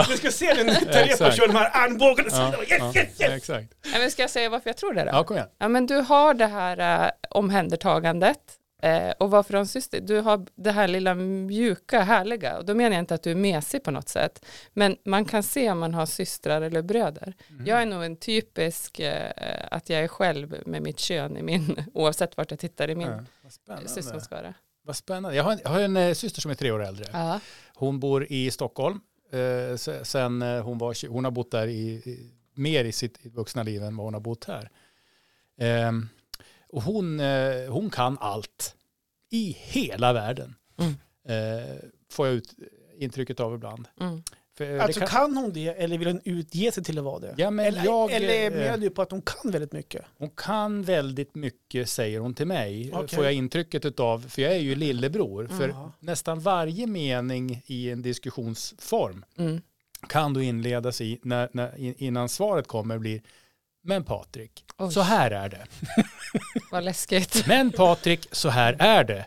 Du ska se den exakt. de här armbågarna. Ja, ja, ja, exakt. Nej, men ska jag säga varför jag tror det då? Ja, kom igen. Ja, men du har det här eh, omhändertagandet eh, och varför en syster? Du har det här lilla mjuka, härliga och då menar jag inte att du är mesig på något sätt. Men man kan se om man har systrar eller bröder. Mm. Jag är nog en typisk eh, att jag är själv med mitt kön i min, *laughs* oavsett vart jag tittar i min Ja, vad eh, spännande. syskonskara. Vad spännande. Jag har en, jag har en eh, syster som är tre år äldre. Ja. Hon bor i Stockholm. eh, se- Sen eh, hon, var, tj- hon har bott där i, i- mer i sitt vuxna liv än vad hon har bott här. Ehm, Och hon, eh, hon kan allt i hela världen. Mm. Eh, Får jag ut eh, intrycket av ibland. Mm. För, eh, det Alltså kan- kan hon det eller vill hon utge sig till att vara det? Ja, men eller jag, eller eh, menar du på att hon kan väldigt mycket? Hon kan väldigt mycket, säger hon till mig, Okej. får jag intrycket utav, för jag är ju lillebror, för Jaha. nästan varje mening i en diskussionsform Mm. kan då inledas i, när, när, in- innan svaret kommer, blir men Patrik, Oj. så här är det. Vad läskigt. Men Patrik, så här är det.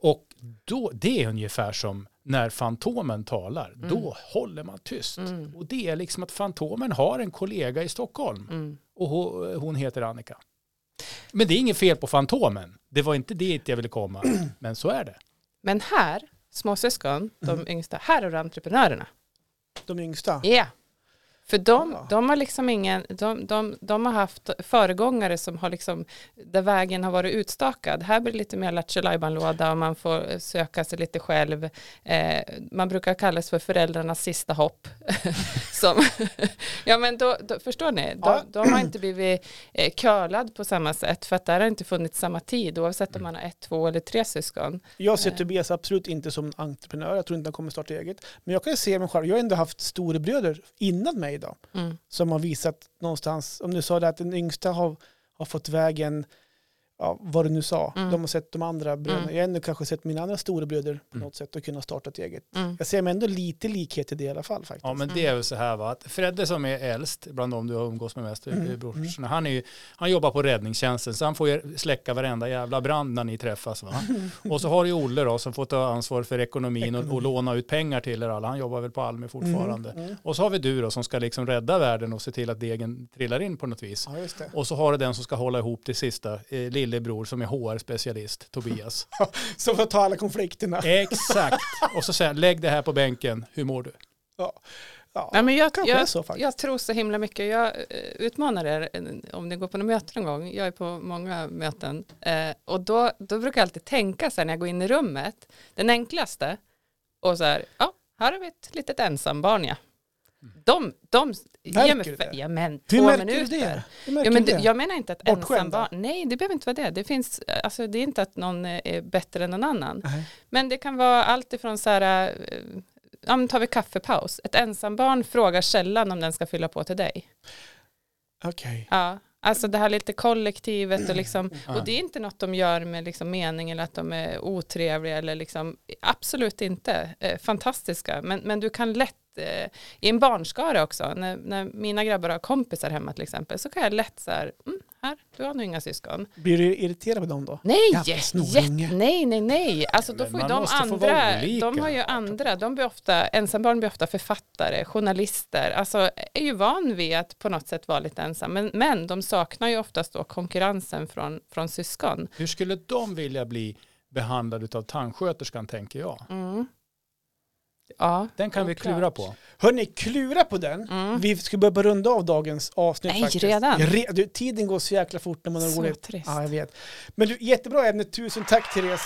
Och då, det är ungefär som när Fantomen talar. Då håller man tyst. Och det är liksom att Fantomen har en kollega i Stockholm. Och ho- hon heter Annika. Men det är inget fel på Fantomen. Det var inte dit jag ville komma. Men så är det. Men här, småsyskon, de Mm. yngsta, här är entreprenörerna. De yngsta? Ja. För de, Ja. de har liksom ingen, de, de, de har haft föregångare som har liksom, där vägen har varit utstakad. Här blir det lite mer lattjo låda och man får eh, söka sig lite själv. Eh, man brukar kallas för föräldrarnas sista hopp. *laughs* som, ja men då, då, förstår ni, de, Ja. de har inte blivit eh, curlad på samma sätt för att där har inte funnits samma tid oavsett om man har ett, två eller tre syskon. Jag ser Tobias absolut inte som en entreprenör, jag tror inte han kommer starta eget. Men jag kan ju se mig själv, jag har ändå haft storebröder innan mig idag. Mm. Som har visat någonstans, om du sa det att den yngsta har, har fått vägen, ja, vad du nu sa, Mm. de har sett de andra bröderna. Mm. Jag har ändå kanske sett mina andra storebröder på Mm. något sätt och kunnat starta ett eget. Mm. Jag ser mig ändå lite likhet i det i alla fall faktiskt. Ja, men det är väl så här va, att Fredde som är äldst, bland de du har umgås med mest, mm. brorsorna, han, är ju, han jobbar på räddningstjänsten, så han får ju släcka varenda jävla brand när ni *laughs* träffas va. Och så har du Olle då, som får ta ansvar för ekonomin och, och låna ut pengar till er alla, han jobbar väl på Almi Mm, fortfarande. Och så har vi du då, som ska liksom rädda världen och se till att degen trillar in på något vis. Ja, just det. Och så har du den som ska hålla ihop det sista, eh, lillebror som är *laughs* HR-specialist, Tobias. Så för att ta alla konflikterna. Exakt. Och så säger han, lägg det här på bänken, hur mår du? Ja. Ja. Nej, men jag, kanske är jag, så faktiskt. jag tror så himla mycket. Jag eh, utmanar er eh, om ni går på något möte någon gång. Jag är på många möten. Eh, och då, då brukar jag alltid tänka så här när jag går in i rummet. Den enklaste, Och så här, ja, här har vi ett litet ensambarn ja. De, de Mm. Märker ger du mig det? fe- ja, men Hur två märker du minuter. det? Hur märker Ja, men du du, det? jag menar inte att Bortskämda? ensambarn, nej det behöver inte vara det. Det, finns, alltså, det är inte att någon är bättre än någon annan. Nej. Men det kan vara allt ifrån så här, eh, ja men tar vi kaffepaus. Ett ensambarn frågar sällan om den ska fylla på till dig. Okej. Ja. Alltså det här lite kollektivet och liksom, och det är inte något de gör med liksom mening eller att de är otrevliga eller liksom, absolut inte, eh, fantastiska, men, men du kan lätt eh, i en barnskara också, när, när mina grabbar har kompisar hemma till exempel, så kan jag lätt så här, mm, här, du har nog inga syskon. Blir du irriterad på dem då? Nej, Jävla snorunge. jätte- nej, nej, nej. Alltså då Men får man ju de måste få vara andra, olika. de har ju andra, de blir ofta, ensambarn blir ofta författare, journalister, alltså är ju van vid att på något sätt vara lite ensam, men, men de saknar ju oftast då konkurrensen från, från syskon. Hur skulle de vilja bli behandlade av tandsköterskan tänker jag? Mm. Ja, Den kan vi Oklart. klura på. Hörni, klura på den. mm. Vi ska börja runda av dagens avsnitt Nej, faktiskt. redan? Re- du, tiden går så jäkla fort när man har så roligt. trist. Ja, jag vet. Men du, jättebra ämne. Tusen tack Therese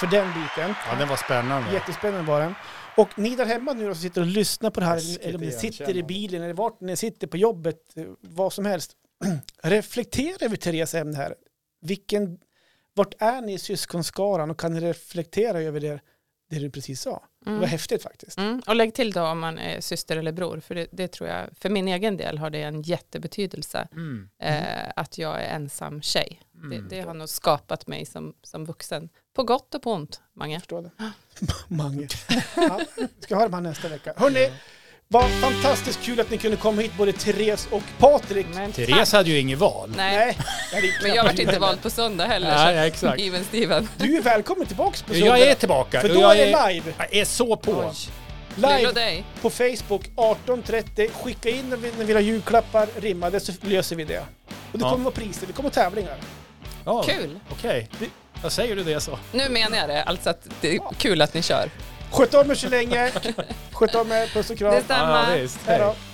för den biten. Ja, den var spännande. Jättespännande var den. Och ni där hemma nu då som sitter och lyssnar på det här, Läskigt eller om ni sitter i igenkännande. bilen eller vart ni sitter på jobbet, eh, vad som helst. *clears throat* Reflektera över Theres ämne här. Vilken, vart är ni i syskonskaran och kan ni reflektera över det, det du precis sa? Det var Mm. häftigt faktiskt. Mm. Och lägg till då om man är syster eller bror, för det, det tror jag, för min egen del har det en jättebetydelse, Mm. eh, att jag är ensam tjej. Det, Mm. det har nog skapat mig som, som vuxen. På gott och på ont, Mange. Jag förstår det. *laughs* Mange. Ja, vi ska ha dem här nästa vecka. Hörni, vad fantastiskt kul att ni kunde komma hit både Therese och Patrik. Men Therese hade ju inget val. Nej, Nej, det är men jag knappt vart inte vald på söndag heller. Nej, så exakt. Even Steven. Du är välkommen tillbaks på Jag söndag. är tillbaka. För och då jag är det live. Jag är så på. Lilo Live dig. på Facebook 18.30. Skicka in när vi, när vi vill ha julklappar rimmade så löser vi det. Och det Ja. kommer vara priser, det kommer vara tävlingar. Ja, Kul. Okej. Jag säger du det så. Nu menar jag det, alltså att det är kul att ni kör. Sköt om er så länge. Sköt om er, puss och kram. Detsamma. visst. Hej då. Hej.